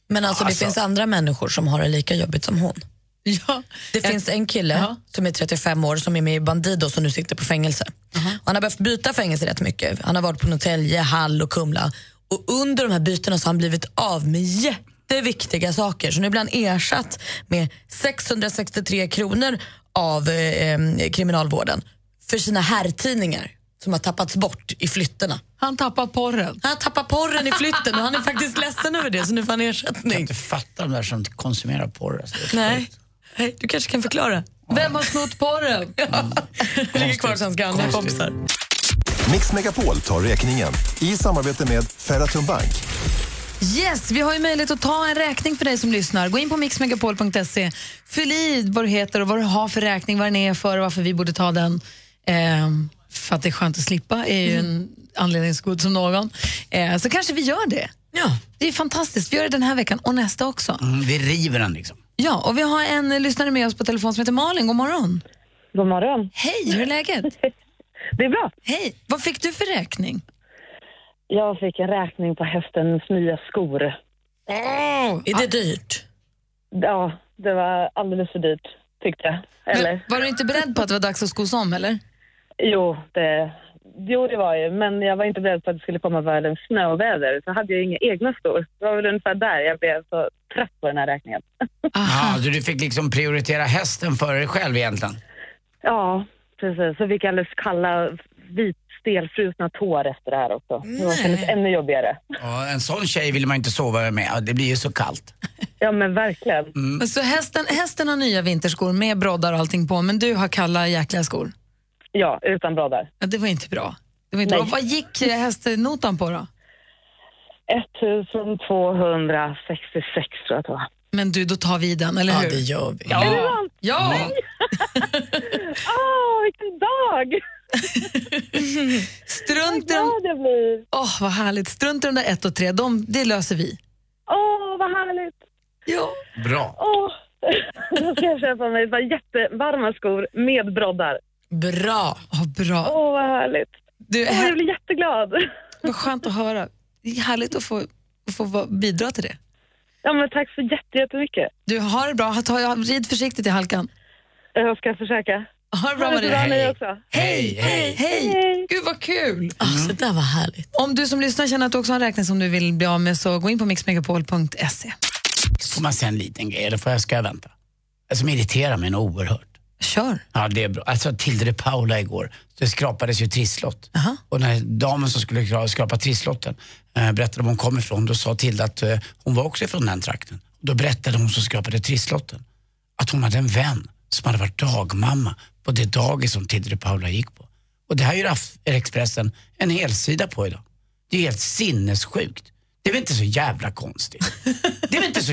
[SPEAKER 4] Men alltså, det
[SPEAKER 3] Alltså.
[SPEAKER 4] finns andra människor som har det lika jobbigt som hon.
[SPEAKER 2] Ja.
[SPEAKER 4] Det finns en kille som är 35 år som är med i Bandidos som nu sitter på fängelse. Och Han har behövt byta fängelse rätt mycket. Han har varit på Norrtälje, Hall och Kumla. Och under de här bytena så har han blivit av med jätteviktiga saker som ibland ersatt med 663 kronor av eh, eh, kriminalvården för sina herrtidningar som har tappats bort i flytterna.
[SPEAKER 2] Han tappar porren.
[SPEAKER 4] Han tappar porren i flytten och han är faktiskt ledsen över det så nu får han
[SPEAKER 3] Jag kan
[SPEAKER 4] ersättning.
[SPEAKER 3] inte fatta de där som konsumerar porr. Alltså.
[SPEAKER 4] Nej. Nej, du kanske kan förklara.
[SPEAKER 2] Vem har snott porren?
[SPEAKER 4] Det ligger kvar hos hans gamla kompisar.
[SPEAKER 9] Mix Megapol tar räkningen i samarbete med Ferratum Bank.
[SPEAKER 2] Yes, vi har ju möjlighet att ta en räkning för dig som lyssnar. Gå in på mixmegapol.se, fyll i vad du heter och vad du har för räkning, vad den är för och varför vi borde ta den. Ehm, för att det är skönt att slippa är ju en anledning så god som någon. Eh, så kanske vi gör det.
[SPEAKER 4] Ja.
[SPEAKER 2] Det är fantastiskt. Vi gör det den här veckan och nästa också.
[SPEAKER 3] Mm, vi river den liksom.
[SPEAKER 2] Ja, och vi har en eh, lyssnare med oss på telefon som heter Malin. God morgon.
[SPEAKER 24] God morgon.
[SPEAKER 2] Hej, hur är läget?
[SPEAKER 24] det är bra.
[SPEAKER 2] Hej, vad fick du för räkning?
[SPEAKER 24] Jag fick en räkning på hästens nya skor.
[SPEAKER 4] Är det dyrt?
[SPEAKER 24] Ja, det var alldeles för dyrt tyckte jag. Eller?
[SPEAKER 2] Men, var du inte beredd på att det var dags att skos om eller?
[SPEAKER 24] Jo, det, jo, det var ju. Men jag var inte beredd på att det skulle komma världens snöväder. Så hade jag inga egna skor. Det var väl ungefär där jag blev så trött på den här räkningen.
[SPEAKER 3] Ja, så du fick liksom prioritera hästen före dig själv egentligen.
[SPEAKER 24] Ja, precis. Så fick jag alldeles kalla, vit, stelfrusna tår efter det här också. Det var- kändes ännu jobbigare.
[SPEAKER 3] Ja, en sån tjej vill man inte sova med. Ja, det blir ju så kallt.
[SPEAKER 24] Ja, men verkligen.
[SPEAKER 2] Men Så hästen, hästen har nya vinterskor med broddar och allting på, men du har kalla jäkliga skor?
[SPEAKER 24] Ja, utan broddar.
[SPEAKER 2] Ja, det var inte bra. Det var inte
[SPEAKER 24] Nej.
[SPEAKER 2] bra. Vad gick eh, hästnotan på då?
[SPEAKER 24] 1266 tror jag att det var.
[SPEAKER 2] Men du, då tar vi den, eller hur?
[SPEAKER 24] det
[SPEAKER 4] gör vi.
[SPEAKER 24] Är det sant?
[SPEAKER 2] Ja.
[SPEAKER 24] Nej. Åh, vilken dag!
[SPEAKER 2] Strunt i
[SPEAKER 24] dem. Åh,
[SPEAKER 2] vad härligt. Strunt i de där ett och tre. De, det löser vi.
[SPEAKER 24] Åh, vad härligt!
[SPEAKER 2] Ja.
[SPEAKER 3] Bra.
[SPEAKER 24] Åh, då ska jag köpa mig ett par jättevarma skor med broddar.
[SPEAKER 4] Bra!
[SPEAKER 2] Oh, bra.
[SPEAKER 24] Åh, vad härligt.
[SPEAKER 2] Du,
[SPEAKER 24] Åh,
[SPEAKER 2] här-
[SPEAKER 24] jag blir jätteglad.
[SPEAKER 2] Vad skönt att höra. Det är härligt att få, att få vara- bidra till det.
[SPEAKER 24] Ja, men tack så jätte- jättemycket.
[SPEAKER 2] Du, har det bra. Ta, rid försiktigt i halkan.
[SPEAKER 24] Jag ska försöka.
[SPEAKER 2] Ha det bra,
[SPEAKER 24] Ha det så bra,
[SPEAKER 2] Maria.
[SPEAKER 24] ni också.
[SPEAKER 2] Hej, hej, hej. Mm. Gud, vad kul.
[SPEAKER 3] Ah,
[SPEAKER 4] Alltså, det där var härligt.
[SPEAKER 2] Om du som lyssnar känner att du också har en räkning som du vill bli av med så gå in på mixmegapol.se.
[SPEAKER 3] Får man säga en liten grej eller får jag, ska jag vänta? Alltså, Som irriterar mig något oerhört.
[SPEAKER 2] Kör.
[SPEAKER 3] Ja, det är bra. Alltså Tilde de Paula igår, det skrapades ju trisslott. Och när damen som skulle skra- skrapa trisslotten eh, berättade var hon kom ifrån, då sa Tilde att eh, hon var också ifrån den trakten. Då berättade hon som skrapade trisslotten att hon hade en vän som hade varit dagmamma på det dagis som Tilde de Paula gick på. Och det här gör Aff- Expressen en hel sida på idag. Det är helt sinnessjukt. Det är väl inte så jävla konstigt? Det är väl inte så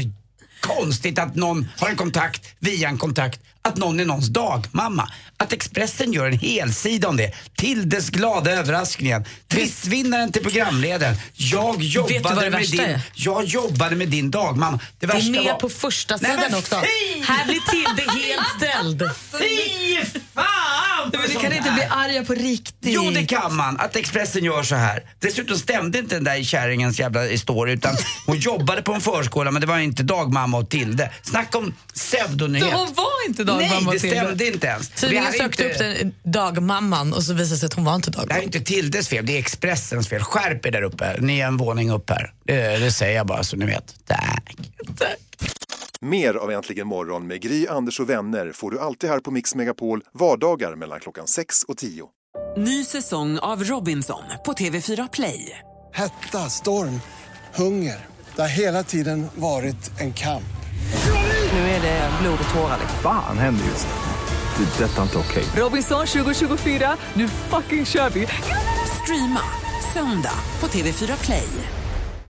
[SPEAKER 3] konstigt att någon har en kontakt via en kontakt, att någon är någons dagmamma. Att Expressen gör en helsida om det. Tildes glada överraskningen. Trissvinnaren till programledaren. Jag
[SPEAKER 4] du vad det
[SPEAKER 3] jobbade, med
[SPEAKER 4] värsta
[SPEAKER 3] din,
[SPEAKER 4] är?
[SPEAKER 3] jag jobbade med din dagmamma. Det
[SPEAKER 4] Det
[SPEAKER 3] värsta
[SPEAKER 4] är med
[SPEAKER 3] var...
[SPEAKER 4] på första
[SPEAKER 3] Nej,
[SPEAKER 4] sidan
[SPEAKER 3] men
[SPEAKER 4] också.
[SPEAKER 3] fy!
[SPEAKER 4] Här blir Tilde helt ställd.
[SPEAKER 3] Fy fan!
[SPEAKER 2] Men du kan inte bli arga på riktigt.
[SPEAKER 3] Jo, det kan man. Att Expressen gör så här. Dessutom stämde inte den där kärringens jävla story utan hon jobbade på en förskola men det var inte dagmamma och Tilde. Snacka om pseudonyhet.
[SPEAKER 4] Så hon var inte dagmamma
[SPEAKER 3] Nej,
[SPEAKER 4] och
[SPEAKER 3] det
[SPEAKER 4] Tilde?
[SPEAKER 3] stämde inte ens.
[SPEAKER 4] Tidningen
[SPEAKER 3] Det här är
[SPEAKER 4] sökte
[SPEAKER 3] inte-
[SPEAKER 4] upp den, dagmamman och så visade det sig att hon var inte
[SPEAKER 3] Det här är
[SPEAKER 4] dagmamma.
[SPEAKER 3] inte Tildes fel, det är Expressens fel. Skärp er där uppe. Ni är en våning upp här. Det, det säger jag bara så ni vet. Tack.
[SPEAKER 9] Mer av Äntligen morgon med Gry, Anders och vänner får du alltid här på Mix Megapol vardagar mellan klockan 6 och 10.
[SPEAKER 25] Ny säsong av Robinson på TV4 Play.
[SPEAKER 1] Hetta, storm, hunger. Det har hela tiden varit en kamp.
[SPEAKER 25] Nu är det blod och tårar.
[SPEAKER 6] Fan händer just nu. Det. är Detta är inte okej.
[SPEAKER 25] Robinson 2024, nu fucking kör vi! Streama söndag på TV4 Play.